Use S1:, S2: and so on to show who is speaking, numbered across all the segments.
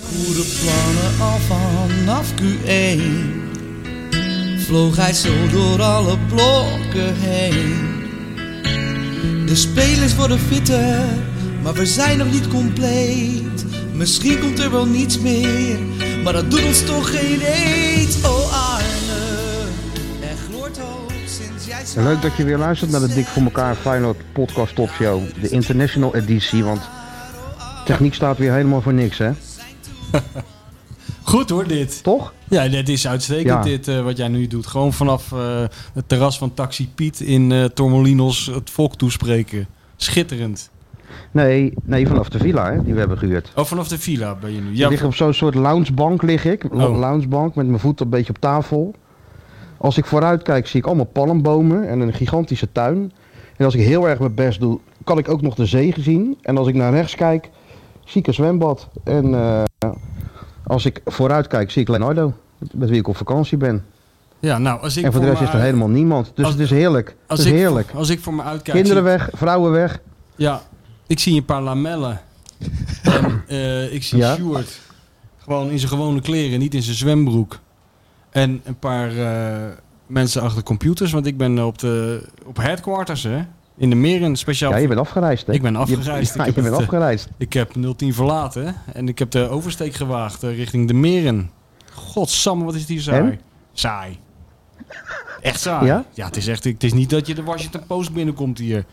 S1: goede plannen al vanaf Q1 Vloog hij zo door alle blokken heen De spelers worden fitter, maar we zijn nog niet compleet Misschien komt er wel niets meer, maar dat doet ons toch geen eet Oh Arne, er gloort hoop sinds jij
S2: En Leuk dat je weer luistert naar de Dik voor elkaar Feyenoord podcast Top Show. De international editie, want techniek staat weer helemaal voor niks, hè?
S3: Goed hoor, dit.
S2: Toch?
S3: Ja, dit is uitstekend,
S2: Ja.
S3: dit eh, wat jij nu doet. Gewoon vanaf eh, het terras van Taxi Piet in eh, Tormolinos het volk toespreken. Schitterend.
S2: Nee, nee vanaf de villa hè, die we hebben gehuurd.
S3: Oh, vanaf de villa ben je nu.
S2: ik
S3: Ja,
S2: lig op zo'n soort loungebank lig ik. Lo-
S3: Oh.
S2: Loungebank met mijn voet een beetje op tafel. Als ik vooruit kijk zie ik allemaal palmbomen en een gigantische tuin. En als ik heel erg mijn best doe, kan ik ook nog de zee zien. En als ik naar rechts kijk, zie ik een zwembad. En eh, als ik vooruit kijk, zie ik Leonardo. Met wie ik op vakantie ben.
S3: ja nou, als ik
S2: en voor de rest is er
S3: mijn-
S2: helemaal niemand. Dus
S3: als-
S2: het is heerlijk. Het
S3: als
S2: is
S3: ik,
S2: heerlijk.
S3: Als ik voor me uitkijk...
S2: Kinderen
S3: zie ik-
S2: weg, vrouwen weg.
S3: Ja, ik zie een paar lamellen. en, eh, ik zie
S2: Ja.
S3: Sjoerd. Gewoon in zijn gewone kleren, niet in zijn zwembroek. En een paar eh, mensen achter computers, want ik ben op, de, op headquarters, hè. In de meren, speciaal
S2: Ja, je bent afgereisd hè?
S3: Ik ben
S2: Je-
S3: afgereisd.
S2: Ja, je
S3: Ik heb
S2: bent
S3: het, eh,
S2: afgereisd.
S3: Ik heb 010 verlaten en ik heb de oversteek gewaagd eh, richting de meren. Godsamme, wat is het hier saai.
S2: En?
S3: Saai. Echt saai.
S2: Ja?
S3: het, is echt, het is niet dat je de Washington Post binnenkomt hier.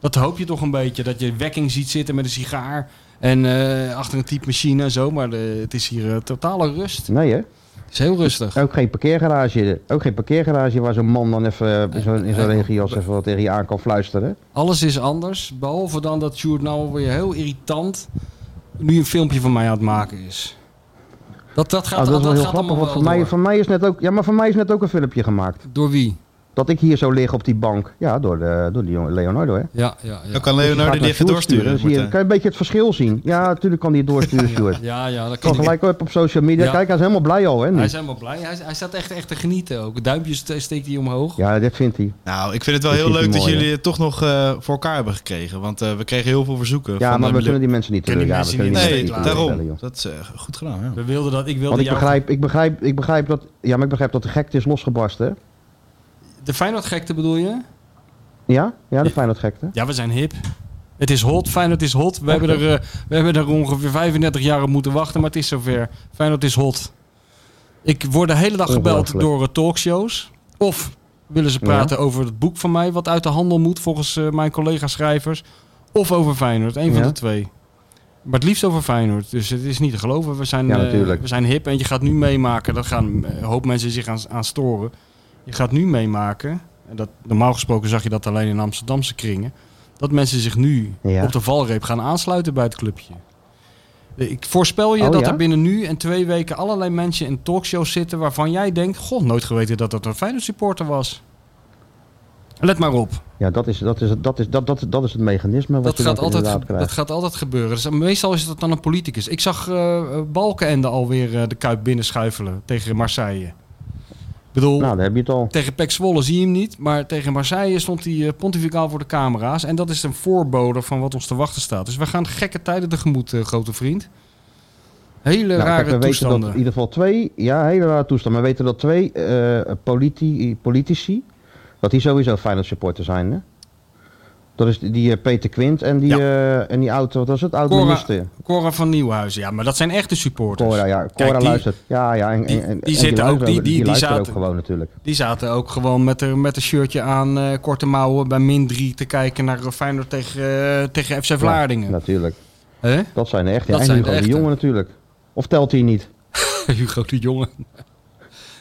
S3: Dat hoop je toch een beetje. Dat je wekking ziet zitten met een sigaar en eh, achter een typemachine en zo. Maar de- het is hier eh, totale rust.
S2: Nee hè?
S3: Het is heel rustig.
S2: Ook geen parkeergarage. Ook geen parkeergarage waar zo'n man dan even eh, in zo'n in zo'n regenjas even wat tegen je aan kan fluisteren.
S3: Alles is anders, behalve dan dat Sjoerd nou weer heel irritant nu een filmpje van mij aan het maken is. Dat, dat gaat,
S2: Ah, dat is wel heel
S3: gaat
S2: grappig.
S3: allemaal
S2: Want voor
S3: wel
S2: mij,
S3: door.
S2: voor mij is net ook. Ja, maar voor mij is net ook een filmpje gemaakt.
S3: Door wie?
S2: Dat ik hier zo lig op die bank. Ja, door, de, door die jongen Leonardo hè.
S3: Ja, ja,
S2: Dus
S3: ja.
S4: Dan kan
S2: je gaat
S4: Leonardo
S2: naar
S4: die even
S2: Sjoerd sturen, dus
S4: doorsturen.
S2: dan zie je-
S4: Martijn.
S2: kan je een beetje het verschil zien? Ja, natuurlijk kan hij het doorsturen, Stuart.
S3: Ja, ja, dat kan
S2: Kan
S3: hij.
S2: gelijk op, op social media.
S3: Ja.
S2: Kijk, hij is helemaal blij al hè. Nu.
S3: Hij is helemaal blij. Hij, hij staat echt, echt te genieten ook. Duimpjes ste- steekt hij omhoog.
S2: Ja, dat vindt hij.
S4: Nou, ik vind het wel
S2: Dat
S4: heel
S2: is
S4: leuk
S2: niet
S4: dat
S2: mooi,
S4: jullie het toch nog eh, voor elkaar hebben gekregen. Want eh, we kregen heel veel verzoeken.
S2: Ja,
S4: van,
S2: maar
S4: eh,
S2: we
S4: Milo-
S2: kunnen die mensen niet
S3: kunnen die
S2: Ja, we
S3: mensen
S2: kunnen
S3: niet
S2: die
S4: Nee,
S2: mensen
S3: stelen,
S4: daarom.
S2: teleurstellen, joh.
S4: dat is eh, goed gedaan. Ja.
S3: We wilden dat. Ik wilde
S2: Want ik
S3: jou-
S2: begrijp, ik begrijp, ik begrijp dat. Ja, maar ik begrijp dat de gekte is losgebarsten.
S3: De Feyenoord-gekte bedoel je?
S2: Ja? Ja, de Feyenoord gekte.
S3: Ja, we zijn hip. Het is hot. Feyenoord is hot. We hebben, er, eh, we hebben er ongeveer 35 jaar op moeten wachten, maar het is zover. Feyenoord is hot. Ik word de hele dag gebeld
S2: Ongelooflijk.
S3: door eh, talkshows. Of willen ze praten over het boek van mij, wat uit de handel moet volgens eh, mijn collega-schrijvers. Of over Feyenoord. Een van
S2: Ja.
S3: de twee. Maar het liefst over Feyenoord. Dus het is niet te geloven. We zijn,
S2: Ja,
S3: eh,
S2: natuurlijk.
S3: we zijn hip en je gaat nu meemaken. Dat gaan eh, een hoop mensen zich aan, aan storen. Je gaat nu meemaken. En dat, normaal gesproken zag je dat alleen in Amsterdamse kringen. Dat mensen zich nu
S2: Ja.
S3: op de valreep gaan aansluiten bij het clubje. Eh, Ik voorspel je
S2: Oh,
S3: dat
S2: ja?
S3: er binnen nu en twee weken allerlei mensen in talkshows zitten waarvan jij denkt: God, nooit geweten dat dat een Feyenoord supporter was. Let maar op.
S2: Ja, dat is, dat, is, dat, is, dat, dat, dat is het mechanisme wat
S3: Dat
S2: je
S3: gaat,
S2: dan
S3: altijd,
S2: inderdaad
S3: ge- dat
S2: krijgt.
S3: gaat altijd gebeuren. Dus meestal is dat dan een politicus. Ik zag eh Balkenende alweer eh, de Kuip binnenschuifelen tegen Marseille. Ik bedoel,
S2: Nou, daar heb je het al.
S3: tegen Pek Zwolle zie je hem niet. Maar tegen Marseille stond hij eh, pontificaal voor de camera's. En dat is een voorbode van wat ons te wachten staat. Dus we gaan gekke tijden tegemoet, eh, grote vriend. Hele
S2: Nou, kijk,
S3: rare
S2: we weten dat
S3: toestanden.
S2: in ieder geval twee, ja, hele rare toestanden. We weten dat twee eh, politi- politici, dat die sowieso Feyenoord supporter zijn. Hè? Dat is die eh, Peter Quint en die,
S3: Ja.
S2: eh, en die oud, wat was het, oud
S3: Cora-
S2: minister.
S3: Cora van Nieuwhuizen. Ja, maar dat zijn echte supporters.
S2: Cora, ja, Cora
S3: Kijk, die-
S2: luistert. Ja, ja, en,
S3: die-
S2: en- en-
S3: die
S2: en
S3: zitten ook-
S2: luisteren
S3: die- die- die
S2: luisteren
S3: zaten-
S2: ook gewoon natuurlijk.
S3: Die zaten ook gewoon met een met een shirtje aan, eh, korte mouwen, bij min 3 te kijken naar Feyenoord tegen, eh, tegen FC Vlaardingen.
S2: Ja, natuurlijk.
S3: Hè?
S2: Dat zijn de echte.
S3: Dat
S2: en
S3: zijn
S2: Hugo
S3: de
S2: de
S3: echte.
S2: Jonge natuurlijk. Of telt hij niet?
S3: Hugo de Jonge.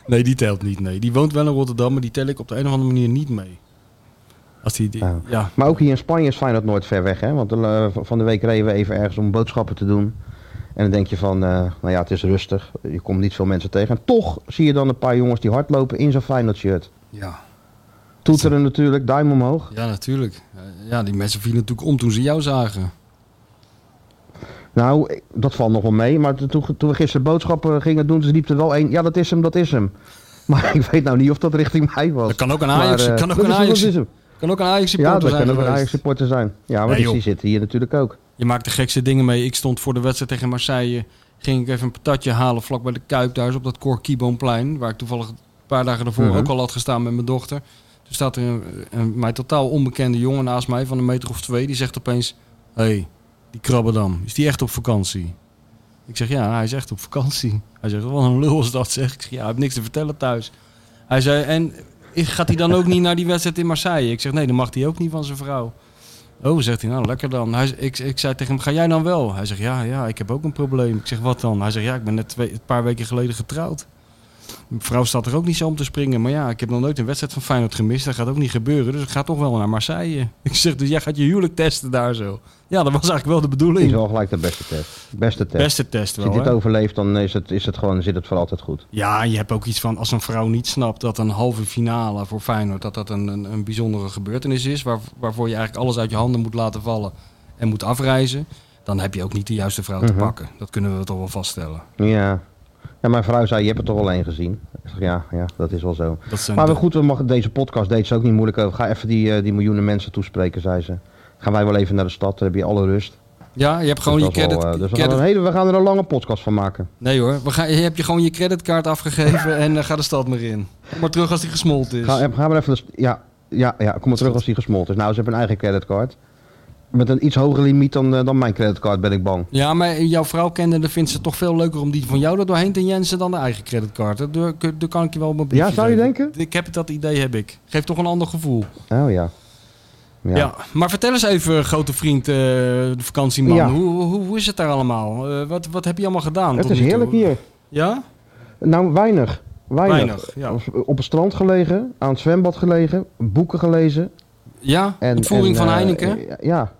S3: Nee, die telt niet. Nee. Die woont wel in Rotterdam, maar die tel ik op de een of andere manier niet mee. Als die, die-
S2: Nou.
S3: ja.
S2: Maar ook hier in Spanje is Feyenoord nooit ver weg. Hè? Want eh, van de week reden we even ergens om boodschappen te doen. En dan denk je van, eh, nou ja, het is rustig. Je komt niet veel mensen tegen. En toch zie je dan een paar jongens die hardlopen in zo'n Feyenoord shirt.
S3: Ja.
S2: Toeteren natuurlijk, duim omhoog.
S3: ja, natuurlijk. Ja, die mensen vielen natuurlijk om toen ze jou zagen.
S2: Nou, ik- dat valt nog wel mee. Maar toen, toen we gisteren boodschappen gingen doen, ze liep er wel één. Ja, dat is hem, dat is hem. Maar ik weet nou niet of dat richting mij was.
S3: Dat kan ook een
S2: Maar,
S3: Ajax,
S2: eh,
S3: kan ook
S2: dat is
S3: een
S2: hem, dat
S3: Ajax,
S2: is hem.
S3: kan ook een Ajax
S2: Ja,
S3: supporter
S2: dat kan
S3: zijn
S2: ook een
S3: geweest.
S2: Ajax supporter zijn. Ja, maar
S3: Nee,
S2: dus
S3: joh.
S2: die zitten hier natuurlijk ook.
S3: Je maakt de gekste dingen mee. Ik stond voor de wedstrijd tegen Marseille ging ik even een patatje halen vlak bij de Kuip thuis op dat Corquibonplein. Waar ik toevallig een paar dagen daarvoor
S2: Mhm.
S3: ook al had gestaan met mijn dochter. Toen staat er een, een mij totaal onbekende jongen naast mij van een meter of twee. Die zegt opeens, hé, hey, die Krabbedam, is die echt op vakantie? Ik zeg, ja, hij is echt op vakantie. Hij zegt, wat een lul is dat, zeg. Ik zeg, ja, hij heeft niks te vertellen thuis. Hij zei, en gaat hij dan ook niet naar die wedstrijd in Marseille? Ik zeg, nee, dan mag hij ook niet van zijn vrouw. Oh, zegt hij, nou lekker dan. Hij, ik, ik zei tegen hem, ga jij dan wel? Hij zegt, ja, ja, ik heb ook een probleem. Ik zeg, wat dan? Hij zegt, ja, ik ben net twee, een paar weken geleden getrouwd. Mijn vrouw staat er ook niet zo om te springen. Maar ja, ik heb nog nooit een wedstrijd van Feyenoord gemist. Dat gaat ook niet gebeuren, dus ik ga toch wel naar Marseille. Ik zeg, dus jij gaat je huwelijk testen daar zo. Ja, dat was eigenlijk wel de
S2: Is
S3: bedoeling.
S2: wel gelijk de beste test. Beste test.
S3: Beste test
S2: Als je
S3: wel,
S2: dit
S3: hè?
S2: overleeft, dan is het, is het gewoon, zit het voor altijd goed.
S3: Ja, je hebt ook iets van als een vrouw niet snapt dat een halve finale voor Feyenoord dat dat een, een, een bijzondere gebeurtenis is, waar, waarvoor je eigenlijk alles uit je handen moet laten vallen en moet afreizen, dan heb je ook niet de juiste vrouw te
S2: Mhm.
S3: pakken. Dat kunnen we toch wel vaststellen.
S2: Ja. ja, mijn vrouw zei, je hebt het toch wel één gezien? Ik zeg, ja, ja, dat is wel zo.
S3: Dat zijn
S2: Maar
S3: de-
S2: wel goed, we mag, deze podcast deed ze ook niet moeilijk over. Ga even die, eh, die miljoenen mensen toespreken, zei ze. Gaan wij wel even naar de stad, dan heb je alle rust.
S3: Ja, je hebt gewoon
S2: Dus
S3: je
S2: dat is wel,
S3: credit,
S2: eh, dus we, gaan
S3: credit-
S2: er een hele, we gaan er een lange podcast van maken.
S3: Nee hoor, we gaan, je hebt je gewoon je creditkaart afgegeven en eh, ga de stad maar in. Kom maar terug als die gesmolten is.
S2: Ga, eh, ga maar even... de st- Ja, ja, ja, kom maar terug als die gesmolten is. Nou, ze hebben een eigen creditcard. Met een iets hogere limiet dan, eh, dan mijn creditcard, ben ik bang.
S3: Ja, maar jouw vrouw kennen, dan vindt ze het toch veel leuker om die van jou er doorheen te jensen dan de eigen creditcard. Daar- Daar daar kan ik je wel op een briefje
S2: Ja, zou je
S3: geven.
S2: denken?
S3: Ik heb dat idee, heb ik. Geeft toch een ander gevoel.
S2: Oh ja.
S3: Ja. maar vertel eens even, grote vriend, eh, de vakantieman.
S2: Ja.
S3: Hoe, hoe, hoe is het daar allemaal? Eh, wat, wat heb je allemaal gedaan?
S2: Het
S3: tot
S2: is
S3: nu toe?
S2: heerlijk hier.
S3: Ja?
S2: Nou, weinig. Weinig.
S3: Weinig, ja.
S2: Op het strand gelegen, aan het zwembad gelegen, boeken gelezen.
S3: Ja?
S2: En,
S3: Ontvoering
S2: en,
S3: van
S2: eh,
S3: Heineken?
S2: eh, ja.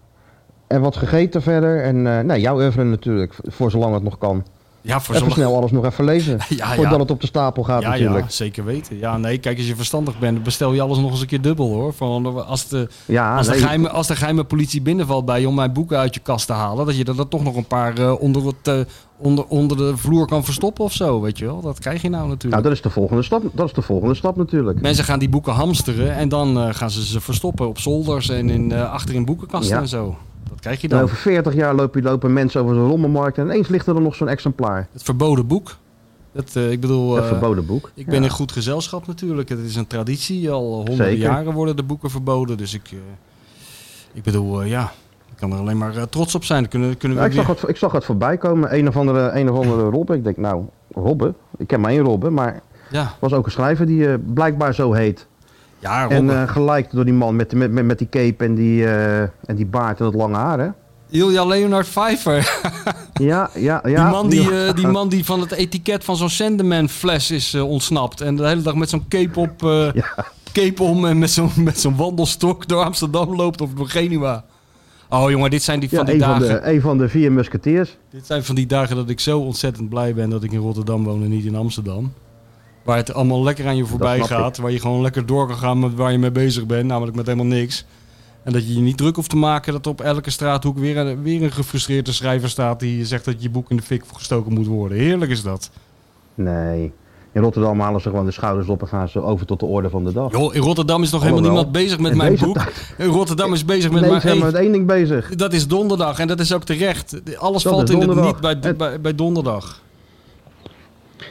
S2: En wat gegeten verder. En eh, nou, jouw oeuvre natuurlijk, voor zolang het nog kan.
S3: ja,
S2: even
S3: voor zondag.
S2: snel alles nog even lezen.
S3: Ja,
S2: Voordat
S3: ja.
S2: het op de stapel gaat
S3: Ja,
S2: natuurlijk.
S3: ja, zeker weten. Ja, nee, kijk, als je verstandig bent, dan bestel je alles nog eens een keer dubbel, hoor. Van, als, eh, de,
S2: Ja,
S3: als, de
S2: nee.
S3: geheime, als de geheime politie binnenvalt bij je om mijn boeken uit je kast te halen... dat je er dan toch nog een paar eh, onder, het, eh, onder, onder de vloer kan verstoppen of zo, weet je wel. Dat krijg je nou natuurlijk.
S2: Nou, dat is de volgende stap. Dat is de volgende stap natuurlijk.
S3: Mensen gaan die boeken hamsteren en dan eh, gaan ze ze verstoppen op zolders en in, eh, achter in boekenkasten
S2: Ja. Nou,
S3: en zo. Dat krijg je
S2: En
S3: dan.
S2: over 40 jaar lopen, lopen mensen over de rommelmarkt en ineens ligt er dan nog zo'n exemplaar.
S3: Het verboden boek. Dat, eh, ik bedoel,
S2: Het
S3: eh,
S2: verboden boek.
S3: ik ben
S2: Ja.
S3: in goed gezelschap natuurlijk. Het is een traditie. Al honderden
S2: Zeker.
S3: jaren worden de boeken verboden. Dus ik, eh, ik bedoel, eh, ja, ik kan er alleen maar eh, trots op zijn. Dan Kunnen, kunnen we
S2: Nou, ik,
S3: weer-
S2: zag het, ik zag het voorbij komen, een of andere, een of andere Robbe. Ik denk, nou, Robbe? Ik ken maar één Robbe, maar
S3: Ja,
S2: was ook een schrijver die eh, blijkbaar zo heet.
S3: ja
S2: En
S3: Robben.
S2: eh, gelijk door die man met, met, met, met die cape en die, eh, en die baard en dat lange haar, hè?
S3: Ilja Leonard Pfeiffer.
S2: Ja, ja, ja.
S3: die, man die, eh, die man die van het etiket van zo'n Sandeman fles is eh, ontsnapt. En de hele dag met zo'n cape op. eh, cape om en met zo'n met zo'n wandelstok door Amsterdam loopt of door Genua. Oh jongen, dit zijn die
S2: Ja,
S3: van die
S2: een, van
S3: dagen.
S2: de, een van de vier musketeers.
S3: Dit zijn van die dagen dat ik zo ontzettend blij ben dat ik in Rotterdam woon en niet in Amsterdam. Waar het allemaal lekker aan je voorbij
S2: snap ik.
S3: gaat. Waar je gewoon lekker door kan gaan met waar je mee bezig bent. Namelijk met helemaal niks. En dat je je niet druk hoeft te maken dat er op elke straathoek weer een, weer een gefrustreerde schrijver staat. die zegt dat je boek in de fik gestoken moet worden. Heerlijk is dat.
S2: Nee. In Rotterdam halen ze gewoon de schouders op en gaan ze over tot de orde van de dag.
S3: Joh, in Rotterdam is nog
S2: Allemaal
S3: helemaal niemand
S2: wel.
S3: bezig met
S2: In
S3: mijn
S2: deze
S3: boek. In Rotterdam is bezig met
S2: nee,
S3: mijn
S2: ze zijn met één ding bezig.
S3: Dat is donderdag en dat is ook terecht. Alles
S2: Dat
S3: valt
S2: is
S3: in het
S2: donderdag.
S3: niet bij,
S2: Het-
S3: bij, bij donderdag.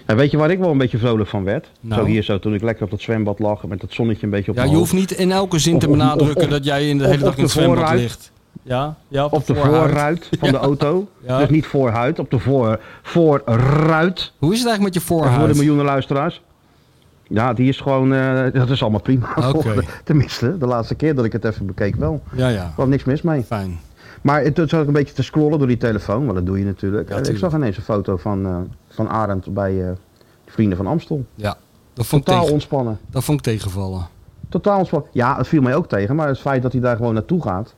S2: En weet je waar ik wel een beetje vrolijk van werd?
S3: Nou.
S2: Zo hier zo, toen ik lekker op dat zwembad lag en met dat zonnetje een beetje op
S3: Ja,
S2: mijn
S3: je
S2: hoofd.
S3: hoeft niet in elke zin
S2: Of-
S3: te
S2: of- of-
S3: benadrukken
S2: of-
S3: dat jij in de
S2: of-
S3: hele dag
S2: Oh. op
S3: in het
S2: de
S3: zwembad
S2: voorruit.
S3: ligt. Ja, ja
S2: Op de
S3: voorruit.
S2: voorruit van de auto.
S3: Ja.
S2: Dus niet voorhuid, op de voor, voorruit.
S3: Hoe is het eigenlijk met je
S2: En voor de
S3: voorhuid?
S2: miljoenen luisteraars. Ja, die is gewoon, eh, dat is allemaal prima.
S3: Oké.
S2: Tenminste, de laatste keer dat ik het even bekeek wel.
S3: Ja, ja.
S2: Er was niks mis mee.
S3: Fijn.
S2: Maar het- toen zat ik een beetje te scrollen door die telefoon, want dat doe je natuurlijk.
S3: Ja,
S2: En ik
S3: tuurlijk.
S2: zag ineens een foto van, eh, van Arend bij eh, de Vrienden van Amstel.
S3: Ja. Dat vond, ik
S2: Totaal
S3: tegen-
S2: ontspannen.
S3: dat vond ik tegenvallen.
S2: Totaal ontspannen. Ja, het viel mij ook tegen, maar het feit dat hij daar gewoon naartoe gaat,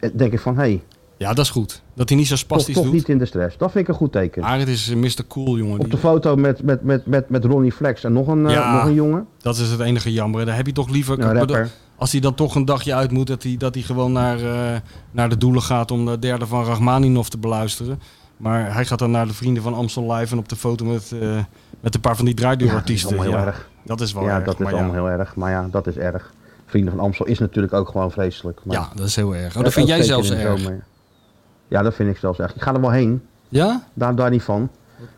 S2: eh, denk ik van, hé, hey,
S3: Ja, dat is goed. Dat hij niet zo
S2: toch,
S3: spastisch
S2: toch
S3: doet.
S2: niet in de stress. Dat vind ik een goed teken.
S3: Arend is eh, Mr. Cool, jongen.
S2: Op de
S3: Die-
S2: foto met, met, met, met, met Ronnie Flex en nog een, eh,
S3: Ja.
S2: nog een jongen,
S3: dat is het enige jammer. Daar heb je toch liever...
S2: een rapper.
S3: Als hij dan toch een dagje uit moet, dat hij, dat hij gewoon naar, eh, naar de doelen gaat om de derde van Rachmaninov te beluisteren. Maar hij gaat dan naar de vrienden van Amstel Live en op de foto met, eh, met een paar van die draaideurartiesten.
S2: Ja, dat is allemaal heel
S3: Ja,
S2: erg.
S3: dat is wel
S2: ja,
S3: erg,
S2: dat is
S3: maar ja.
S2: allemaal heel erg. Maar ja, dat is erg. Vrienden van Amstel is natuurlijk ook gewoon vreselijk. Maar
S3: Ja, dat is heel erg. Oh, dat vind
S2: ook
S3: jij
S2: zeker
S3: zelfs
S2: in de
S3: erg.
S2: zomer. Ja, dat vind ik zelfs erg. Ik ga er wel heen.
S3: Ja?
S2: Daar, daar niet van.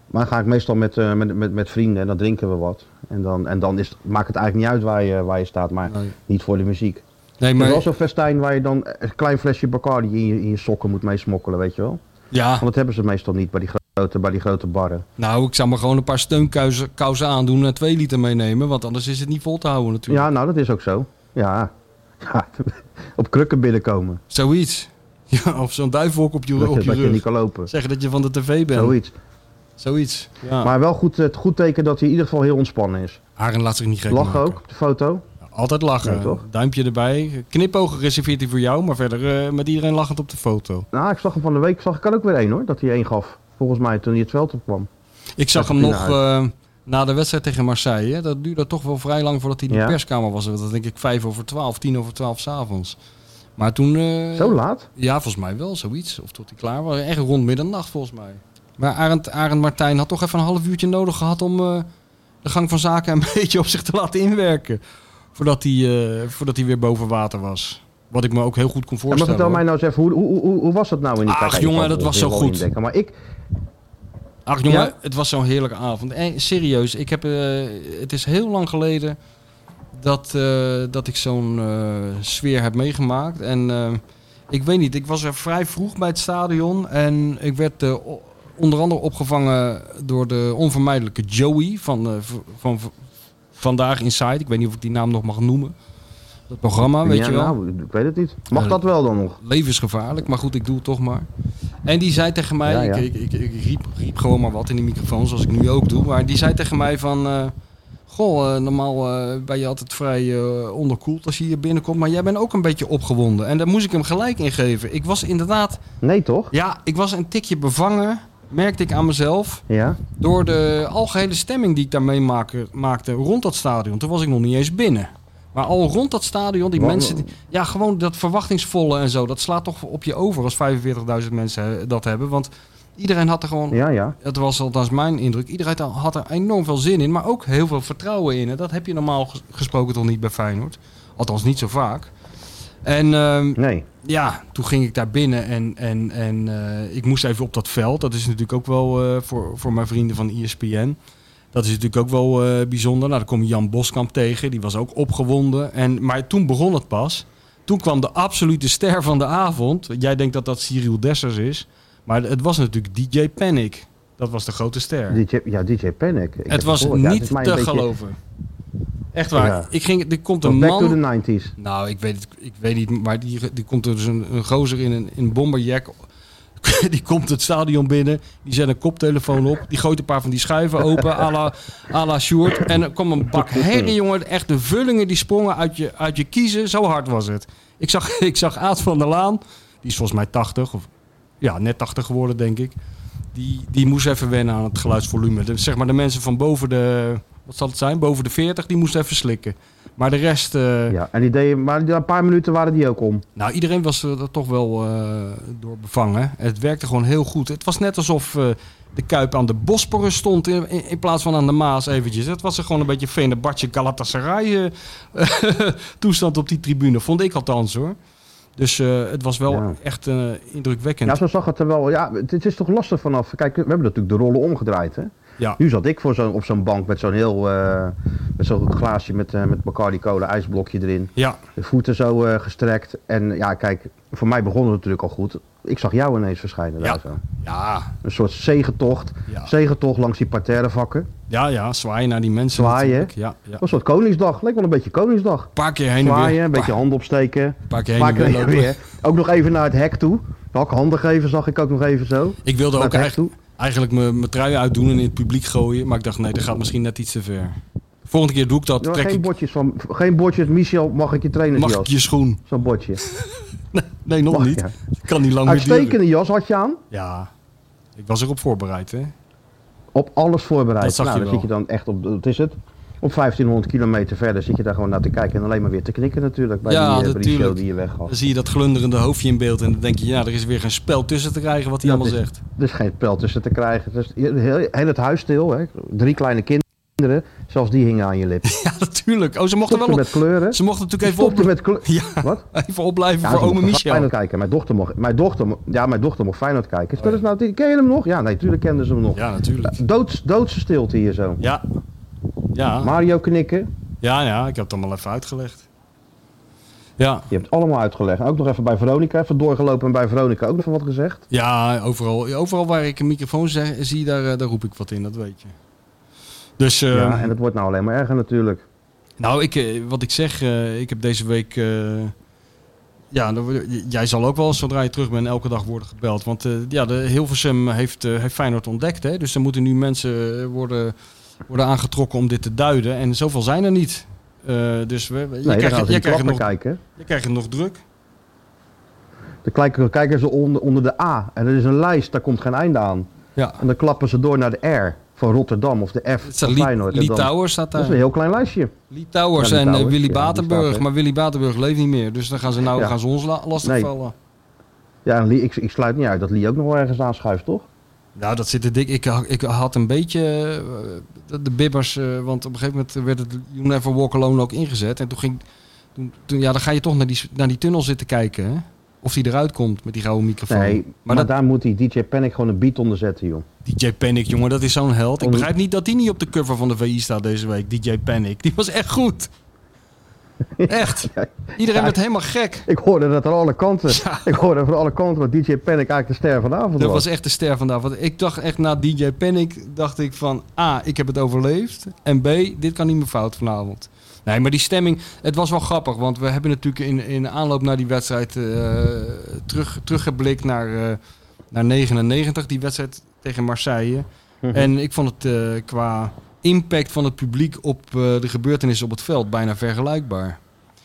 S2: Maar dan ga ik meestal met, eh, met, met, met vrienden en dan drinken we wat. En dan, en dan is, het- maakt het eigenlijk niet uit waar je, waar je staat, maar
S3: Nee,
S2: niet voor de muziek.
S3: nee
S2: Maar... Er is
S3: maar...
S2: wel zo'n festijn waar je dan een klein flesje Bacardi in je, in je sokken moet meesmokkelen, weet je wel.
S3: Ja,
S2: Want dat hebben ze meestal niet bij die grote, bij die grote barren.
S3: nou, ik zou maar gewoon een paar steunkousen kousen aandoen en twee liter meenemen. Want anders is het niet vol te houden natuurlijk.
S2: Ja, nou dat is ook zo. Ja, ja op krukken binnenkomen.
S3: Zoiets. Ja, of zo'n duivelhok op je,
S2: Dat
S3: op
S2: je,
S3: je
S2: dat je
S3: rug.
S2: niet kan lopen.
S3: Zeggen dat je van de tv bent. Zoiets.
S2: Zoiets.
S3: Ja. Maar...
S2: Maar wel goed, eh, het goed teken dat hij in ieder geval heel ontspannen is.
S3: Haren laat zich niet gek
S2: Lachen
S3: maken.
S2: ook op de foto.
S3: Altijd lachen.
S2: Ja, toch?
S3: Duimpje erbij. Knipogen reserveert hij voor jou, maar verder eh, met iedereen lachend op de foto.
S2: Nou, ik zag hem van de week. Zag ik er ook weer één hoor. Dat hij één gaf. Volgens mij toen hij het veld op kwam.
S3: Ik zag
S2: Dat
S3: hem
S2: is
S3: nog eh, na de wedstrijd tegen Marseille. hè. Dat duurde toch wel vrij lang voordat hij in de
S2: Ja.
S3: perskamer was. Dat was denk ik vijf over twaalf, tien over twaalf s'avonds. Maar toen... eh,
S2: Zo laat?
S3: Ja, volgens mij wel, zoiets. Of tot hij klaar was. Echt rond middernacht, volgens mij. Maar Arend, Arend Martijn had toch even een half uurtje nodig gehad om eh, de gang van zaken een beetje op zich te laten inwerken. Voordat hij, eh, voordat hij weer boven water was. Wat ik me ook heel goed kon
S2: Ja, maar
S3: voorstellen.
S2: vertel mij nou eens even, hoe, hoe, hoe, hoe was dat nou in die
S3: Ach,
S2: tijd?
S3: jongen,
S2: Ik kan
S3: dat
S2: het
S3: was zo
S2: wel
S3: goed.
S2: indenken, Maar ik,
S3: Ach jongen,
S2: Ja?
S3: het was zo'n heerlijke avond. En serieus, ik heb, eh, het is heel lang geleden dat, eh, dat ik zo'n eh, sfeer heb meegemaakt. En eh, ik weet niet, ik was er vrij vroeg bij het stadion. En ik werd eh, o- onder andere opgevangen door de onvermijdelijke Joey van, eh, v- van v- Vandaag Inside. Ik weet niet of ik die naam nog mag noemen. Dat programma, Ah, weet
S2: ja,
S3: je wel.
S2: nou, ik weet het niet. Mag
S3: Ja.
S2: dat wel dan nog?
S3: levensgevaarlijk, maar goed, ik doe het toch maar. En die zei tegen mij,
S2: Ja, ja.
S3: ik, ik, ik, ik riep, riep gewoon maar wat in die microfoon, zoals ik nu ook doe. Maar die zei tegen mij van, eh, goh, eh, normaal eh, ben je altijd vrij eh, onderkoeld als je hier binnenkomt. Maar jij bent ook een beetje opgewonden. En daar moest ik hem gelijk in geven. Ik was inderdaad,
S2: Nee toch?
S3: ja, ik was een tikje bevangen, merkte ik aan mezelf.
S2: Ja.
S3: Door de algehele stemming die ik daarmee maakte, maakte rond dat stadion. Toen was ik nog niet eens binnen. Maar al rond dat stadion, die
S2: Wat-
S3: mensen... Die, ja, gewoon dat verwachtingsvolle en zo. Dat slaat toch op je over als 45.000 mensen eh, dat hebben. Want iedereen had er gewoon...
S2: Ja, ja.
S3: Dat was althans mijn indruk. Iedereen had er enorm veel zin in. Maar ook heel veel vertrouwen in. En dat heb je normaal ges- gesproken toch niet bij Feyenoord. Althans niet zo vaak. En ehm,
S2: Nee.
S3: ja, toen ging ik daar binnen en, en, en eh, ik moest even op dat veld. Dat is natuurlijk ook wel eh, voor, voor mijn vrienden van E ESPN. Dat is natuurlijk ook wel eh, bijzonder. Nou, daar kom je Jan Boskamp tegen, die was ook opgewonden. En, maar toen begon het pas. Toen kwam de absolute ster van de avond. Jij denkt dat dat Cyril Dessers is. Maar het was natuurlijk DJ Panic. Dat was de grote ster.
S2: DJ, ja, DJ Panic. Ik heb
S3: het was
S2: gehoord. Ja, het
S3: niet
S2: is mij een
S3: te
S2: beetje-
S3: geloven. Echt waar.
S2: Ja.
S3: Ik ging, er komt
S2: was
S3: een
S2: Back
S3: man...
S2: to the 90s.
S3: Nou, ik weet, het, ik weet niet, maar die, die komt er dus een, een gozer in een, in een bomberjack. Die komt het stadion binnen, die zet een koptelefoon op, die gooit een paar van die schuiven open, à la, à la Sjoerd. En er kwam een bak herrie, jongen. Echt de vullingen die sprongen uit je, uit je kiezen, zo hard was het. Ik zag, ik zag Aad van der Laan, die is volgens mij 80, of ja, net 80 geworden, denk ik. Die, die moest even wennen aan het geluidsvolume. De, zeg maar de mensen van boven de, wat zal het zijn, boven de 40, die moesten even slikken. Maar de rest... eh,
S2: Ja, en die deden, maar na een paar minuten waren die ook om.
S3: nou, iedereen was er toch wel eh, door bevangen. Het werkte gewoon heel goed. Het was net alsof eh, de Kuip aan de Bosporus stond in, in, in plaats van aan de Maas eventjes. Het was er gewoon een beetje Fenerbahce Galatasaray eh, toestand op die tribune. Vond ik althans hoor. Dus eh, het was wel
S2: Ja.
S3: echt eh, indrukwekkend.
S2: Ja, zo zag het er wel. Ja, het, het is toch lastig vanaf. Kijk, we hebben natuurlijk de rollen omgedraaid. Hè?
S3: Ja.
S2: Nu zat ik voor zo'n op zo'n bank met zo'n heel. eh, met zo'n glaasje met, eh, met Bacardi cola, ijsblokje erin.
S3: ja.
S2: De voeten zo eh, gestrekt. En ja, kijk, voor mij begon het natuurlijk al goed. Ik zag jou ineens verschijnen.
S3: Ja.
S2: Daar zo.
S3: Ja,
S2: Een soort zegentocht.
S3: ja.
S2: Zegentocht langs die parterre vakken.
S3: ja, ja, zwaaien naar die mensen.
S2: Zwaaien.
S3: natuurlijk. Ja, ja.
S2: Een soort Koningsdag. Leek wel een beetje Koningsdag.
S3: Een paar keer heen en weer.
S2: Zwaaien, een beetje
S3: paar,
S2: hand opsteken.
S3: paar keer heen
S2: Vaak
S3: en weer
S2: weer,
S3: lopen.
S2: weer. Ook nog even naar het hek toe. Hak handen geven zag ik ook nog even zo.
S3: Ik wilde
S2: Naar
S3: ook
S2: het hek
S3: eigenlijk...
S2: toe.
S3: eigenlijk mijn mijn trui uitdoen en in het publiek gooien. Maar ik dacht, nee, dat gaat misschien net iets te ver. Volgende keer doe ik dat.
S2: Ja,
S3: trek
S2: geen
S3: ik,
S2: bordjes van, geen bordjes, Michel, mag ik je
S3: mag ik
S2: trainersjas?
S3: je schoen?
S2: Zo'n bordje.
S3: Nee, nog
S2: Mag,
S3: niet.
S2: ja.
S3: Kan niet lang meer duren.
S2: Uitstekende jas had je aan,
S3: Ja, ik was erop voorbereid, hè.
S2: op alles voorbereid.
S3: Dat zag
S2: nou,
S3: je
S2: dan
S3: wel.
S2: zit je dan echt op, wat is het? Op 1500 kilometer verder zit je daar gewoon naar te kijken en alleen maar weer te knikken natuurlijk. Bij,
S3: Ja,
S2: die, eh, bij die
S3: natuurlijk.
S2: show die je weggaf.
S3: Dan zie je dat glunderende hoofdje in beeld. En dan denk je, ja, er is weer geen spel tussen te krijgen wat hij
S2: Dat
S3: allemaal
S2: is-
S3: zegt.
S2: Dus Er is geen pijl tussen te krijgen. Dus heel, heel het huis stil, hè? drie kleine kinderen. kinderen, zelfs die hingen aan je lip.
S3: Ja, natuurlijk. Oh, ze mochten
S2: Stopte
S3: wel...
S2: met kleuren.
S3: Ze mochten natuurlijk even,
S2: Stopte
S3: op,
S2: met kleuren.
S3: ja,
S2: Wat?
S3: even opblijven
S2: Ja,
S3: voor
S2: ze
S3: ome
S2: mochten
S3: Michel.
S2: Feyenoord kijken. Mijn dochter mocht, mijn dochter, mo- ja, mijn dochter mocht Feyenoord kijken. Spelen ze nou, tegen- ken je hem nog? Ja, nee, natuurlijk kenden ze hem nog.
S3: Oh Ja, natuurlijk.
S2: Doods, doodse stilte hier zo.
S3: Ja. Ja.
S2: Mario knikken.
S3: ja, ja, ik heb het allemaal even uitgelegd. Ja,
S2: Je hebt het allemaal uitgelegd. En ook nog even bij Veronica. Even doorgelopen en bij Veronica ook nog van wat gezegd.
S3: ja overal, overal waar ik een microfoon zeg- zie, daar, eh, daar roep ik wat in, dat weet je. Dus eh,
S2: ja, en het wordt nou alleen maar erger natuurlijk.
S3: Nou, ik, eh, wat ik zeg, eh, ik heb deze week. eh, ja, dan word- j- jij zal ook wel zodra je terug bent elke dag worden gebeld. Want eh ja, de Hilversum heeft, eh, heeft Feyenoord ontdekt. Hè? Dus er moeten nu mensen eh, worden, worden aangetrokken om dit te duiden. En zoveel zijn er niet. Eh, dus we, je,
S2: Nee, daar
S3: krijgt,
S2: gaan
S3: het-
S2: ze
S3: je,
S2: niet
S3: krijgt het
S2: klappen
S3: nog,
S2: kijken.
S3: je krijgt het nog druk.
S2: Dan kijken, kijken ze onder, onder de A. En er is een lijst, daar komt geen einde aan.
S3: Ja,
S2: En dan klappen ze door naar de R van Rotterdam of de F
S3: het
S2: van
S3: staat Lee,
S2: Feyenoord. En
S3: Lee
S2: dan-
S3: Tower staat
S2: dat is een
S3: daar.
S2: heel klein lijstje.
S3: Lee Towers
S2: Ja, Lee
S3: en eh,
S2: Towers,
S3: Willy
S2: ja, die
S3: Batenburg.
S2: staat er.
S3: maar Willy Batenburg leeft niet meer. Dus dan gaan ze, nou,
S2: Ja.
S3: gaan ze ons la- lastigvallen.
S2: Ja, en Lee, ik, ik sluit niet uit dat Lee ook nog wel ergens aanschuift, toch?
S3: Nou, dat zit er dik. Ik, ha- ik had een beetje eh, de- de bibbers, eh, want op een gegeven moment werd het You Never Walk Alone ook ingezet. En toen ging, toen, toen- ja, dan ga je toch naar die, s- naar die tunnel zitten kijken, hè? Of die eruit komt met die gouden microfoon.
S2: Nee, maar,
S3: maar dat,
S2: daar moet die DJ Panic gewoon een beat onder zetten, joh.
S3: DJ Panic, jongen, dat is zo'n held. Ik
S2: Om-
S3: begrijp niet dat die niet op de cover van de VI staat deze week, DJ Panic. Die was echt goed. Echt. Iedereen werd helemaal gek.
S2: Ik hoorde dat aan alle kanten.
S3: Ja.
S2: Ik hoorde van alle kanten wat DJ Panic eigenlijk de ster vanavond
S3: Dat
S2: was.
S3: was echt de ster vandaag. Want ik dacht echt na DJ Panic, dacht ik van A, ik heb het overleefd. En B, dit kan niet meer fout vanavond. Nee, maar die stemming, het was wel grappig. Want we hebben natuurlijk in, in aanloop naar die wedstrijd eh, terug, teruggeblikt naar, eh, naar 99, die wedstrijd tegen Marseille.
S2: Mhm.
S3: En ik vond het eh, qua impact van het publiek op eh, de gebeurtenissen op het veld bijna vergelijkbaar.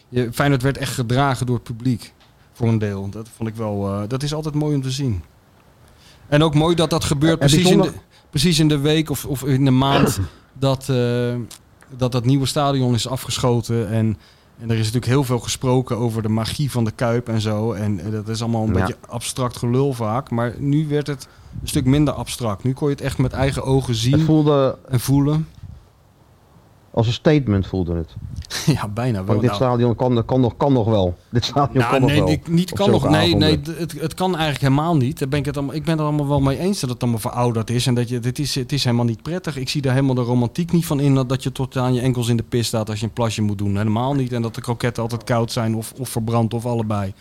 S3: Je, Feyenoord werd echt gedragen door het publiek, voor een deel. Dat vond ik wel, eh, dat is altijd mooi om te zien. En ook mooi dat dat gebeurt
S2: En die
S3: precies, in de,
S2: zondag-
S3: precies in de week of, of in de maand dat, eh, dat dat nieuwe stadion is afgeschoten. En, en er is natuurlijk heel veel gesproken over de magie van de Kuip en zo. En eh, dat is allemaal een
S2: Ja.
S3: beetje abstract gelul vaak. Maar nu werd het een stuk minder abstract. Nu kon je het echt met eigen ogen
S2: Het
S3: zien
S2: voelde
S3: en voelen.
S2: als een statement, voelde het.
S3: ja, bijna wel.
S2: Want dit
S3: Nou,
S2: stadion kan, kan, nog, kan nog wel. Dit stadion
S3: nou,
S2: kan nog
S3: nee,
S2: wel.
S3: ik, niet
S2: Op
S3: kan nog.
S2: zulke
S3: Nee, nee
S2: avonden.
S3: d- het, het kan eigenlijk helemaal niet. Daar ben ik, het allemaal, ik ben er allemaal wel mee eens dat het allemaal verouderd is. En dat je, dit is, het is helemaal niet prettig. Ik zie daar helemaal de romantiek niet van in. Dat, dat je tot aan je enkels in de pis staat als je een plasje moet doen. Helemaal niet. En dat de kroketten altijd koud zijn of, of verbrand of allebei.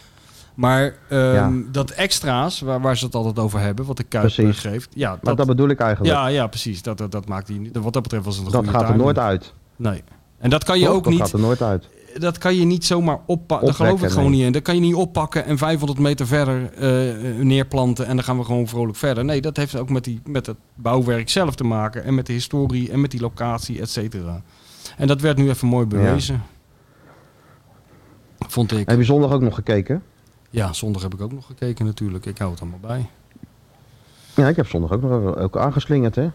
S3: Maar ehm,
S2: Ja.
S3: dat extra's, waar, waar ze het altijd over hebben, wat de Kuip eh,
S2: Precies.
S3: geeft. Ja, dat,
S2: Maar dat, bedoel ik eigenlijk.
S3: ja, ja, precies. Dat, dat, dat maakt die, wat dat betreft was het een
S2: dat
S3: goede
S2: gaat er
S3: timing.
S2: nooit uit.
S3: Nee. En dat kan je
S2: Toch?
S3: ook
S2: dat
S3: niet.
S2: gaat er nooit uit.
S3: Dat kan je niet zomaar oppakken. Daar geloof ik
S2: Opwekken,
S3: gewoon
S2: nee.
S3: niet in. Dat kan je niet oppakken en 500 meter verder eh, neerplanten. En dan gaan we gewoon vrolijk verder. Nee, dat heeft ook met, die, met het bouwwerk zelf te maken. En met de historie en met die locatie, et cetera. En dat werd nu even mooi bewezen. Vond ik.
S2: Heb je zondag ook nog gekeken?
S3: Ja, zondag heb ik ook nog gekeken natuurlijk. Ik hou het allemaal bij.
S2: Ja, ik heb zondag ook nog even ook aangeslingerd, hè? Met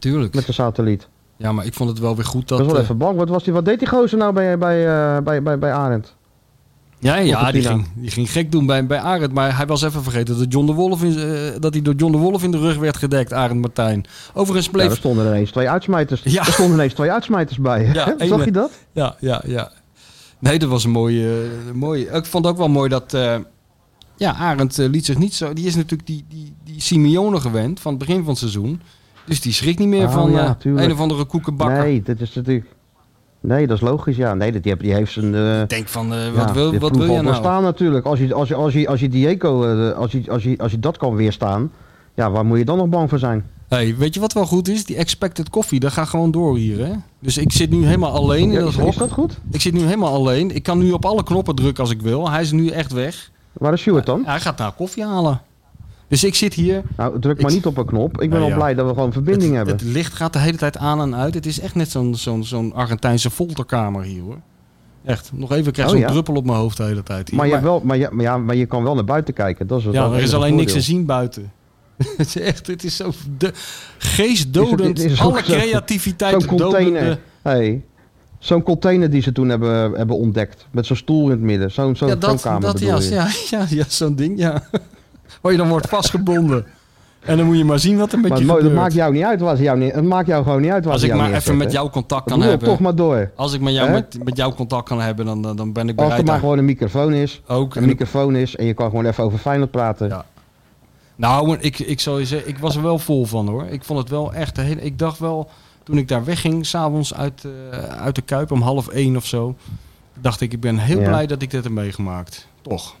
S3: Tuurlijk.
S2: de satelliet.
S3: Ja, maar ik vond het wel weer
S2: Dat
S3: goed dat...
S2: was wel
S3: eh,
S2: even bang. Wat, was die, wat deed die gozer nou bij, bij, eh, bij, bij, bij Arend?
S3: Ja, ja
S2: Op de
S3: die,
S2: Pina.
S3: ging, die ging gek doen bij, bij Arend. Maar hij was even vergeten dat, John de Wolf in, eh, dat hij door John de Wolf in de rug werd gedekt, Arend Martijn. Overigens
S2: Ja,
S3: bleef...
S2: er stonden ineens twee uitsmijters.
S3: Ja.
S2: Er stonden ineens twee uitsmijters bij.
S3: Ja,
S2: hè?
S3: ene-
S2: Zag je dat?
S3: Ja, ja, ja. Nee, dat was een mooie... eh, mooie. Ik vond het ook wel mooi dat... eh, ja, Arend eh, liet zich niet zo... Die is natuurlijk die, die, die Simeone gewend van het begin van het seizoen. Dus die schrikt niet meer
S2: Oh,
S3: van
S2: ja,
S3: eh,
S2: tuurlijk.
S3: een of andere koekenbakker.
S2: Nee, dat is natuurlijk. Nee, dat is logisch. Ja, nee, dat- die, heeft- die heeft zijn. eh,
S3: Ik denk van, eh,
S2: ja,
S3: wat wil,
S2: die
S3: wat
S2: ploeg
S3: wil
S2: al
S3: je nou?
S2: doorstaan natuurlijk. Als je, als je, als je, als je Diego, eh, als je, als je, als je dat kan weerstaan, ja, waar moet je dan nog bang voor zijn?
S3: Hey, weet je wat wel goed is? Die expected koffie, dat gaat gewoon door hier, hè? Dus ik zit nu helemaal alleen in
S2: Ja,
S3: dat
S2: is, is
S3: hok.
S2: dat goed?
S3: Ik zit nu helemaal alleen. Ik kan nu op alle knoppen drukken als ik wil. Hij is nu echt weg.
S2: Waar is Stuart dan?
S3: Hij gaat naar koffie halen. Dus ik zit hier.
S2: Nou, druk maar
S3: Ik-
S2: niet op een knop. Ik ben
S3: Nou,
S2: al
S3: ja.
S2: blij dat we gewoon verbinding
S3: het,
S2: hebben.
S3: het licht gaat de hele tijd aan en uit. Het is echt net zo'n zo'n zo'n Argentijnse folterkamer hier hoor. Echt. Nog even ik krijg
S2: Oh,
S3: zo'n
S2: ja.
S3: druppel op mijn hoofd de hele tijd. Hier.
S2: maar, je hebt wel, maar, je, maar, ja, maar je kan wel naar buiten kijken. Dat is het
S3: ja, er is
S2: enige
S3: alleen niks te
S2: voordeel.
S3: zien buiten. het is echt, het is zo de,
S2: Is
S3: geestdodend.
S2: het- is het ook
S3: alle
S2: zo-
S3: creativiteit
S2: Zo'n container.
S3: dodende.
S2: Hey, zo'n container die ze toen hebben, hebben ontdekt. Met zo'n stoel in het midden. Zo'n zo'n
S3: ja,
S2: zo'n
S3: dat,
S2: kamer
S3: dat
S2: bedoel
S3: ja,
S2: je.
S3: ja, ja, ja, zo'n ding, ja. Waar je dan wordt vastgebonden. En dan moet je maar zien wat er met
S2: Maar
S3: je
S2: het mooie,
S3: gebeurt.
S2: dat maakt jou niet uit waar ze jou neer- Het maakt jou gewoon niet uit waar
S3: Als
S2: ze
S3: ik
S2: jou
S3: maar even
S2: neerzetten.
S3: met jou contact
S2: Ik
S3: kan
S2: bedoel,
S3: hebben.
S2: toch maar door.
S3: Als ik met jou,
S2: Hè?
S3: met, met jou contact kan hebben, dan, dan, dan ben ik
S2: Als er
S3: bereid.
S2: maar
S3: daar-
S2: gewoon een microfoon is.
S3: Ook.
S2: Een microfoon is en je kan gewoon even over Feyenoord praten.
S3: Ja. Nou, ik, ik zou je zeggen, ik was er wel vol van hoor. Ik vond het wel echt. een hele- Ik dacht wel, toen ik daar wegging, s'avonds uit, eh, uit de Kuip om half één of zo. Dacht ik, ik ben heel
S2: Ja.
S3: blij dat ik dit heb meegemaakt. Toch?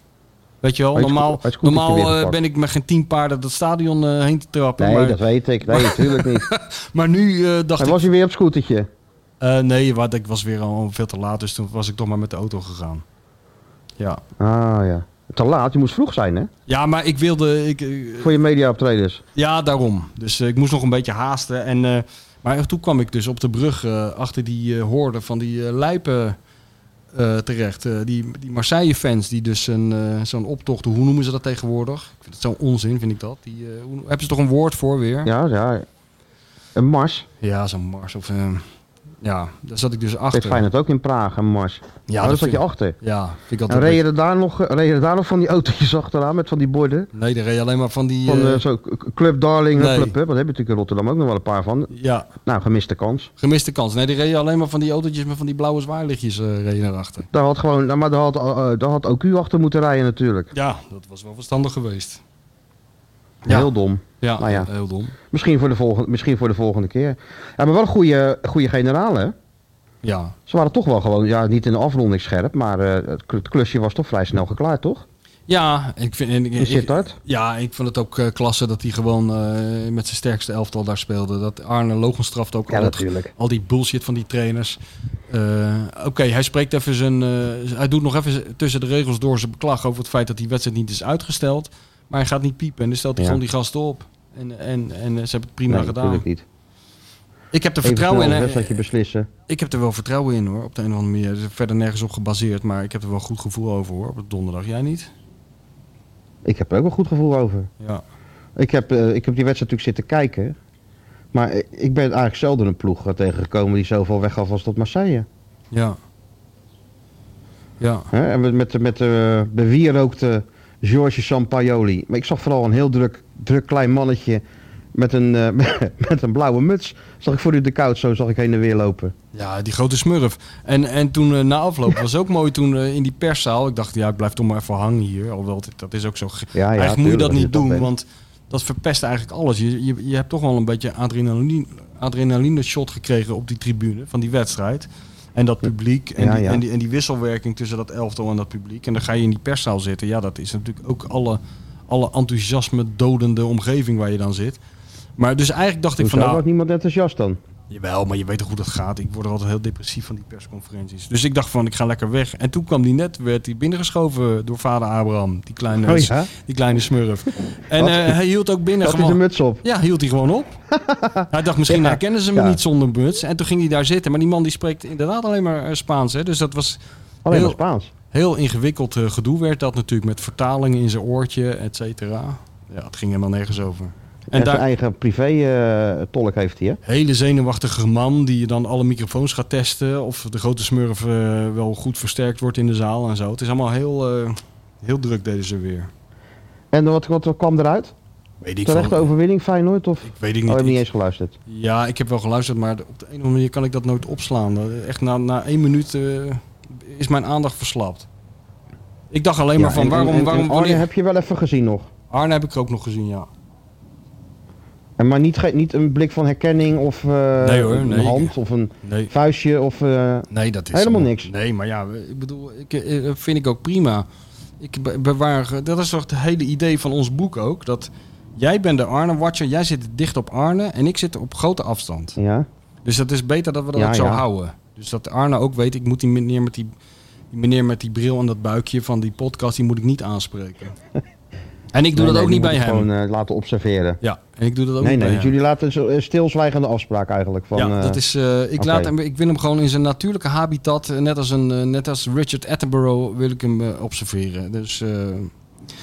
S3: Weet je wel,
S2: Had je
S3: normaal,
S2: sco- had je scootertje
S3: normaal
S2: weer
S3: eh,
S2: gepakt?
S3: ben ik met geen tien paarden dat stadion eh, heen te trappen.
S2: Nee,
S3: maar,
S2: dat weet ik. Nee, natuurlijk niet.
S3: maar nu eh, dacht
S2: Hij
S3: ik.
S2: was hij weer op scootertje.
S3: eh, nee, wat, ik was weer al veel te laat, dus toen was ik toch maar met de auto gegaan. Ja,
S2: Ah ja. Te laat, je moest vroeg zijn hè?
S3: ja maar ik wilde. Ik, eh,
S2: Voor je mediaoptredens.
S3: Ja, daarom. Dus eh, ik moest nog een beetje haasten. En, eh, maar toen kwam ik dus op de brug eh, achter die eh, hoorde van die eh, lijpen eh, terecht. Eh, die die Marseille-fans die dus een, eh, zo'n optocht doen. Hoe noemen ze dat tegenwoordig? Ik vind het zo'n onzin, vind ik dat. Die, eh, hoe- hebben ze toch een woord voor weer?
S2: Ja, ja. Een mars.
S3: Ja, zo'n mars. Of, eh, ja, daar zat ik dus
S2: Deed
S3: achter.
S2: Feyenoord ook in Praag, een mars. Ja, daar zat
S3: vind
S2: je
S3: ik-
S2: achter.
S3: Ja, vind ik
S2: En
S3: altijd... een
S2: reden er daar nog, reden er daar nog van die autootjes achteraan met van die borden?
S3: beetje- Nee, daar reed je alleen maar van die...
S2: Van
S3: eh,
S2: eh, zo k- Club Darling, eh,
S3: nee.
S2: Club Hup. Dat heb je natuurlijk in Rotterdam ook nog wel een paar van.
S3: ja,
S2: Nou, gemiste kans.
S3: gemiste kans. Nee, die reed je alleen maar van die autootjes met van die blauwe zwaarlichtjes eh reed je erachter.
S2: Daar had gewoon, nou, maar daar had, eh, eh, daar had ook u achter moeten rijden natuurlijk.
S3: Ja, dat was wel verstandig geweest. Ja.
S2: Heel dom.
S3: Ja,
S2: Nou ja.
S3: heel dom.
S2: Misschien voor de volgende, misschien voor de volgende keer. Ja, maar wel een goede, goede generaal hè?
S3: Ja.
S2: Ze waren toch wel gewoon, ja, niet in de afronding scherp, maar eh, het kl- het klusje was toch vrij snel geklaard, toch?
S3: Ja, ik vind, en ik,
S2: In
S3: ik,
S2: Sittard?
S3: ja, ik vond het ook eh, klasse dat hij gewoon eh, met zijn sterkste elftal daar speelde. Dat Arne Logenstraft ook
S2: Ja,
S3: al, het-
S2: natuurlijk.
S3: al die bullshit van die trainers. Eh, Oké, hij spreekt even zijn. eh, hij doet nog even z- tussen de regels door zijn beklag over het feit dat die wedstrijd niet is uitgesteld. Maar hij gaat niet piepen en dan stelt hij
S2: Ja.
S3: gewoon die gasten op. En, en, en eh, ze hebben het prima
S2: nee,
S3: gedaan.
S2: natuurlijk niet.
S3: Ik heb er
S2: Even snel
S3: vertrouwen in.
S2: een
S3: hè.
S2: wedstrijdje beslissen.
S3: Ik heb er wel vertrouwen in hoor, op de een of andere manier. Er is verder nergens op gebaseerd, maar ik heb er wel een goed gevoel over hoor. Op donderdag, jij niet?
S2: Ik heb er ook een goed gevoel over.
S3: Ja.
S2: Ik heb, eh, ik heb die wedstrijd natuurlijk zitten kijken. Maar eh, ik ben eigenlijk zelden een ploeg eh, tegengekomen die zoveel weggaf als dat Marseille.
S3: Ja. Ja.
S2: Hè? En met, met, met eh, de bewierookte George Sampaioli. Maar ik zag vooral een heel druk, druk klein mannetje met een, eh, met een blauwe muts. Zag ik voor u de koud zo zag ik heen en weer lopen.
S3: Ja, die grote smurf. En, en toen eh, na afloop was ook mooi toen eh, in die perszaal. Ik dacht, ja, ik blijf toch maar even hangen hier. Alhoewel, dit- dat is ook zo. ge-
S2: Ja, ja,
S3: eigenlijk moet je
S2: tuurlijk,
S3: dat
S2: als je
S3: niet doen,
S2: bent.
S3: want dat verpest eigenlijk alles. Je, je, je hebt toch wel een beetje adrenaline, adrenaline shot gekregen op die tribune van die wedstrijd. En dat publiek en,
S2: Ja,
S3: die,
S2: ja.
S3: En, die, en die wisselwerking tussen dat elftal en dat publiek. En dan ga je in die perszaal zitten. Ja, dat is natuurlijk ook alle, alle enthousiasme dodende omgeving waar je dan zit. Maar dus eigenlijk dacht ik
S2: Hoezo
S3: van nou,
S2: was niemand enthousiast dan?
S3: Jawel, maar je weet toch hoe dat gaat. Ik word er altijd heel depressief van die persconferenties. Dus ik dacht van, ik ga lekker weg. En toen kwam die net, werd hij binnengeschoven door vader Abraham. Die kleine,
S2: Oh ja?
S3: die kleine smurf. En
S2: Wat?
S3: eh, hij hield ook binnen
S2: Had hij
S3: gewoon...
S2: de muts op?
S3: Ja, hield hij gewoon op. hij dacht, misschien
S2: Ja.
S3: herkennen ze me
S2: Ja.
S3: niet zonder muts. En toen ging hij daar zitten. Maar die man die spreekt inderdaad alleen maar eh, Spaans. Hè? Dus dat was
S2: Alleen maar
S3: Heel-
S2: Spaans.
S3: heel ingewikkeld eh, gedoe werd dat natuurlijk. Met vertalingen in zijn oortje, et cetera. Ja, het ging helemaal nergens over.
S2: En, zijn eigen privé eh, tolk heeft hij hè?
S3: hele zenuwachtige man die je dan alle microfoons gaat testen. Of de grote smurf eh, wel goed versterkt wordt in de zaal en zo. Het is allemaal heel, eh, heel druk deden ze weer.
S2: En wat, wat, wat kwam eruit?
S3: Weet ik,
S2: Terechte
S3: veel.
S2: overwinning Feyenoord of?
S3: ik weet ik
S2: Oh,
S3: niet.
S2: heb niet
S3: Ik-
S2: eens geluisterd.
S3: ja, ik heb wel geluisterd, maar op de een of andere manier kan ik dat nooit opslaan. Dat- Echt na, na één minuut eh, is mijn aandacht verslapt. Ik dacht alleen maar
S2: Ja,
S3: van
S2: en- en-
S3: waarom,
S2: en- en
S3: waarom,
S2: Arne
S3: wanneer...
S2: heb je wel even gezien nog.
S3: Arne heb ik ook nog gezien, ja.
S2: En maar niet, ge- niet een blik van herkenning of eh,
S3: Nee hoor,
S2: een
S3: nee.
S2: hand of een
S3: Nee,
S2: vuistje of... eh,
S3: Nee, dat is
S2: Helemaal
S3: hem.
S2: niks.
S3: Nee, maar ja, ik bedoel, ik, eh, vind ik ook prima. Ik be- bewaar, dat is toch het hele idee van ons boek ook. Dat jij bent de Arne-watcher, jij zit dicht op Arne en ik zit op grote afstand.
S2: ja.
S3: Dus dat is beter dat we dat
S2: Ja,
S3: ook zo
S2: ja.
S3: houden. Dus dat Arne ook weet, ik moet die meneer met die, die meneer met die bril en dat buikje van die podcast, die moet ik niet aanspreken. En ik doe dat ook niet bij hem.
S2: Gewoon eh, laten observeren.
S3: Ja, en ik doe dat ook
S2: Nee,
S3: niet
S2: nee,
S3: bij
S2: want
S3: hem.
S2: jullie laten een zo- een stilzwijgende afspraak eigenlijk. Van,
S3: ja,
S2: eh,
S3: dat is, eh, ik,
S2: oké.
S3: laat hem, ik wil hem gewoon in zijn natuurlijke habitat, eh, net als, een, eh, net als Richard Attenborough, wil ik hem eh, observeren. Dus, eh,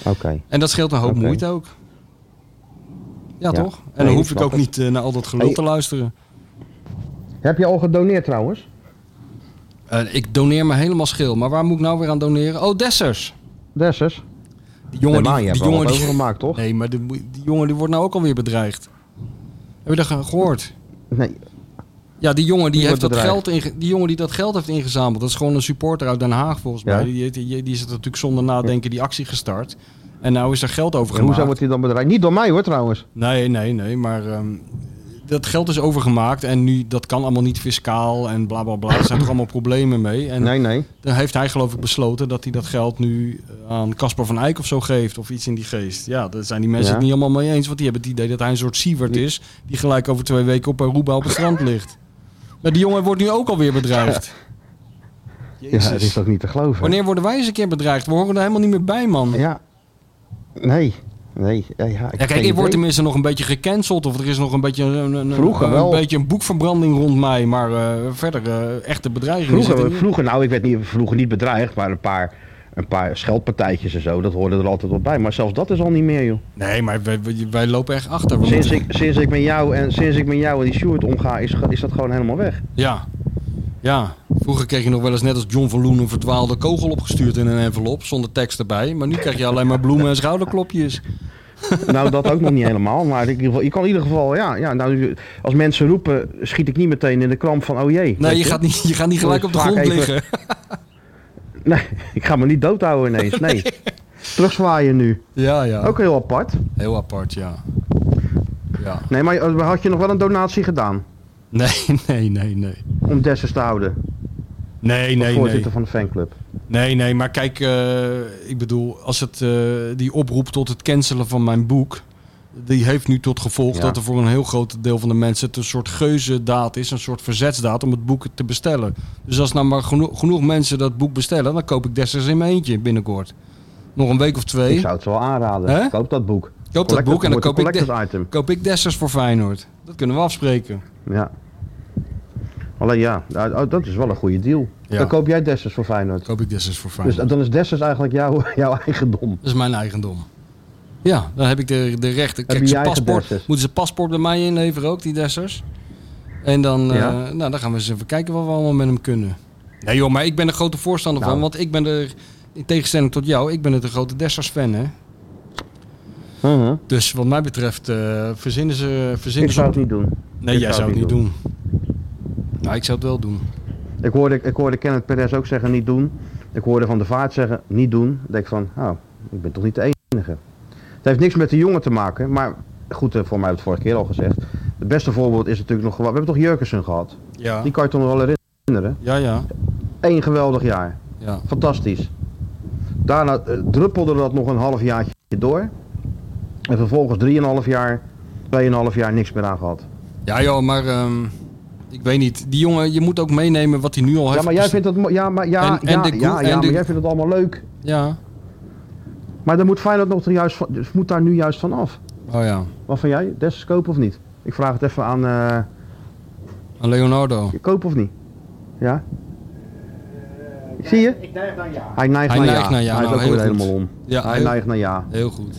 S2: Oké.
S3: en dat scheelt een hoop
S2: Oké.
S3: moeite ook. Ja,
S2: Ja.
S3: toch? En
S2: Nee,
S3: dan
S2: ik
S3: hoef ik
S2: snap
S3: ook
S2: het.
S3: niet eh, naar al dat gelul
S2: Hey.
S3: te luisteren.
S2: Heb je al gedoneerd trouwens?
S3: Eh, ik doneer me helemaal schil, maar waar moet ik nou weer aan doneren? Oh, Dessers!
S2: Dessers?
S3: Die jongen,
S2: nee, maar
S3: die,
S2: je hebt
S3: die
S2: er wel
S3: jongen
S2: wat
S3: die,
S2: over gemaakt, toch?
S3: Nee, maar die, moe- die jongen die wordt nou ook alweer bedreigd. Heb je dat ge- gehoord?
S2: Nee,
S3: Ja, die jongen die,
S2: Die wordt
S3: heeft dat
S2: bedreigd.
S3: geld inge- die jongen die dat geld heeft ingezameld, dat is gewoon een supporter uit Den Haag volgens
S2: Ja.
S3: mij. Die, die, die is het natuurlijk zonder nadenken die actie gestart. En nou is er geld over gemaakt.
S2: hoezo wordt hij dan bedreigd? Niet door mij hoor trouwens.
S3: Nee, nee, nee, maar ehm, dat geld is overgemaakt en nu dat kan allemaal niet fiscaal en bla bla bla. Er zijn toch allemaal problemen mee. En
S2: Nee, nee.
S3: dan heeft hij geloof ik besloten dat hij dat geld nu eh, aan Casper van Eyck of zo geeft of iets in die geest. Ja, daar zijn die mensen
S2: Ja.
S3: het niet allemaal mee eens, want die hebben het idee dat hij een soort Sievert is die gelijk over twee weken op Aruba op het strand ligt. Maar die jongen wordt nu ook alweer bedreigd.
S2: Ja, dat is
S3: Jezus.
S2: toch niet te geloven.
S3: Wanneer worden wij eens een keer bedreigd? We horen er helemaal niet meer bij, man.
S2: Ja. Nee. Nee. Ja, ja, ik
S3: Ja,
S2: geen
S3: kijk, ik word
S2: idee.
S3: tenminste nog een beetje gecanceld. Of er is nog een beetje een, een,
S2: Vroeger
S3: een,
S2: wel.
S3: beetje een boekverbranding rond mij. Maar eh, verder, eh, echte bedreigingen
S2: Vroeger,
S3: zitten niet.
S2: vroeger, nou, ik werd niet, vroeger niet bedreigd, maar een paar, een paar scheldpartijtjes en zo, dat hoorde er altijd wel bij. Maar zelfs dat is al niet meer, joh.
S3: Nee, maar wij, wij- wij lopen echt achter. We
S2: Sinds
S3: moeten-
S2: ik, sinds ik met jou en, sinds ik met jou en die Stuart omga, is, ge- is dat gewoon helemaal weg.
S3: Ja. ja, vroeger kreeg je nog wel eens net als John van Loen een verdwaalde kogel opgestuurd in een envelop. Zonder tekst erbij. Maar nu krijg je alleen maar bloemen en schouderklopjes.
S2: Nou, dat ook nog niet helemaal. Maar in ieder geval, je kan in ieder geval, ja, ja nou, als mensen roepen, schiet ik niet meteen in de kramp van, oh jee.
S3: Nee,
S2: Weet
S3: Nou, je gaat niet, je gaat niet gelijk op de
S2: Vaak
S3: grond
S2: even-
S3: liggen.
S2: Nee, ik ga me niet doodhouden ineens, nee. Terugzwaaien nu.
S3: Ja, ja.
S2: Ook heel apart.
S3: Heel apart, ja. Ja.
S2: Nee, maar eh, had je nog wel een donatie gedaan
S3: Nee, nee, nee, nee.
S2: om Dessus te houden?
S3: Nee,
S2: als
S3: nee, nee.
S2: voorzitter van de fanclub.
S3: Nee, nee, maar kijk, eh, ik bedoel, als het, eh, die oproep tot het cancelen van mijn boek. Die heeft nu tot gevolg
S2: Ja.
S3: dat er voor een heel groot deel van de mensen het een soort geuzendaad is, een soort verzetsdaad om het boek te bestellen. Dus als nou maar geno- genoeg mensen dat boek bestellen, dan koop ik desnoods in mijn eentje binnenkort. Nog een week of twee.
S2: Ik zou het ze wel aanraden.
S3: Hè?
S2: Koop dat boek.
S3: Koop dat boek en dan koop ik, de-
S2: dat item.
S3: koop ik desnoods voor Feyenoord. Dat kunnen we afspreken.
S2: Ja. Alleen ja, nou, oh, dat is wel een goede deal.
S3: Ja.
S2: Dan koop jij Dessers voor Feyenoord.
S3: Koop ik desnoods voor
S2: Dus
S3: Feyenoord.
S2: dan is Dessers eigenlijk jouw, jouw eigendom.
S3: Dat is mijn eigendom. Ja, dan heb ik de, de rechten. Kijk,
S2: je
S3: zijn
S2: eigen
S3: paspoort,
S2: Dessers?
S3: moeten ze paspoort bij mij inleveren ook, die Dessers. En dan, eh,
S2: Ja.
S3: nou, dan gaan we eens even kijken wat we allemaal met hem kunnen. Nee joh, maar ik ben er grote voorstander
S2: Nou.
S3: van. Want ik ben er, in tegenstelling tot jou, ik ben het een grote Dessers-fan. hè.
S2: Mhm.
S3: Dus wat mij betreft eh, verzinnen ze... Verzinnen
S2: Ik
S3: ze
S2: zou het niet doen.
S3: nee,
S2: ik
S3: jij zou het niet doen. Nou, ik zou het wel doen.
S2: Ik hoorde, ik hoorde Kenneth Perez ook zeggen niet doen. Ik hoorde Van der Vaart zeggen niet doen. Dan denk ik van, nou, ik ben toch niet de enige. Het heeft niks met de jongen te maken. Maar goed, eh, voor mij hebben we het vorige keer al gezegd. Het beste voorbeeld is natuurlijk nog... We hebben toch Jurkensen gehad?
S3: Ja,
S2: Die kan je toch nog wel herinneren?
S3: ja, ja.
S2: Eén geweldig jaar.
S3: ja.
S2: Fantastisch. Daarna eh, druppelde dat nog een half jaartje door. En vervolgens 3,5 jaar, 2,5 jaar niks meer aan gehad.
S3: Ja joh, maar ehm, ik weet niet. Die jongen, je moet ook meenemen wat hij nu al heeft.
S2: Ja, maar jij vindt dat. mo- Ja, maar, ja,
S3: En- en
S2: ja,
S3: de
S2: ja,
S3: goe-
S2: ja,
S3: en de-
S2: maar jij vindt het allemaal leuk.
S3: Ja,
S2: Maar dan moet Feyenoord nog er juist van, dus moet daar nu juist van af.
S3: oh ja.
S2: Wat van jij? Des kopen of niet? Ik vraag het even aan eh
S3: Aan Ah, Leonardo.
S2: kopen of niet? Ja? Zie je? Ik neig naar ja. Hij neigt
S3: Hij
S2: naar
S3: neigt
S2: ja.
S3: naar ja,
S2: Hij is ook
S3: nou,
S2: weer
S3: heel goed.
S2: helemaal om.
S3: Ja,
S2: hij
S3: heel-
S2: neigt naar ja.
S3: Heel goed.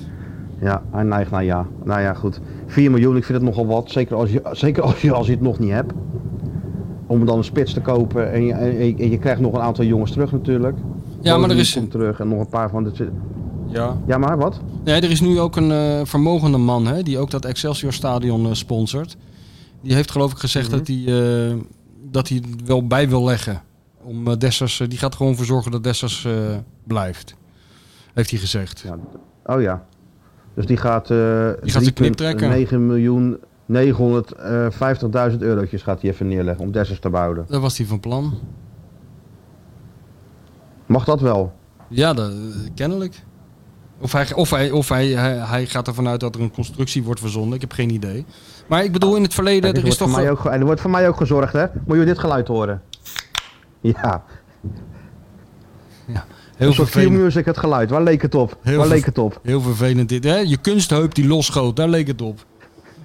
S2: Ja, hij neigt naar ja. Nou ja, goed. 4 miljoen, ik vind het nogal wat. Zeker als je, zeker als je, als je het nog niet hebt. Om dan een spits te kopen. En je, en je, en je krijgt nog een aantal jongens terug natuurlijk.
S3: Ja, maar er
S2: Bovendien
S3: is,
S2: komt terug en nog een paar van de...
S3: ja.
S2: Ja, maar wat?
S3: nee, er is nu ook een eh, vermogende man hè, die ook dat Excelsior Stadion eh, sponsort. Die heeft geloof ik gezegd
S2: Mhm.
S3: dat, hij, eh, dat hij het wel bij wil leggen. Om, eh, Dessers, eh, die gaat gewoon voor zorgen dat Dessers eh, blijft. Heeft hij gezegd.
S2: Ja. Oh ja. Dus die gaat...
S3: Die gaat zijn knip trekken.
S2: 9 miljoen... 950.000 eurotjes gaat hij even neerleggen om Dessers te bouwen.
S3: Dat was hij van plan.
S2: Mag dat wel?
S3: Ja, dat, eh, kennelijk. Of, hij, of, hij, of hij, hij, hij gaat ervan uit dat er een constructie wordt verzonnen. Ik heb geen idee. Maar ik bedoel, in het verleden,
S2: Kijk,
S3: er is
S2: wordt
S3: toch...
S2: voor mij ook, ge- en er wordt voor mij ook gezorgd, hè? Moet je dit geluid horen? Ja,
S3: heel
S2: Een soort
S3: vervelend.
S2: Q-music het geluid. Waar leek het op?
S3: Heel
S2: Waar
S3: veel-
S2: leek het op?
S3: Heel vervelend dit. Hè? Je kunstheup die losschoot, daar leek het op.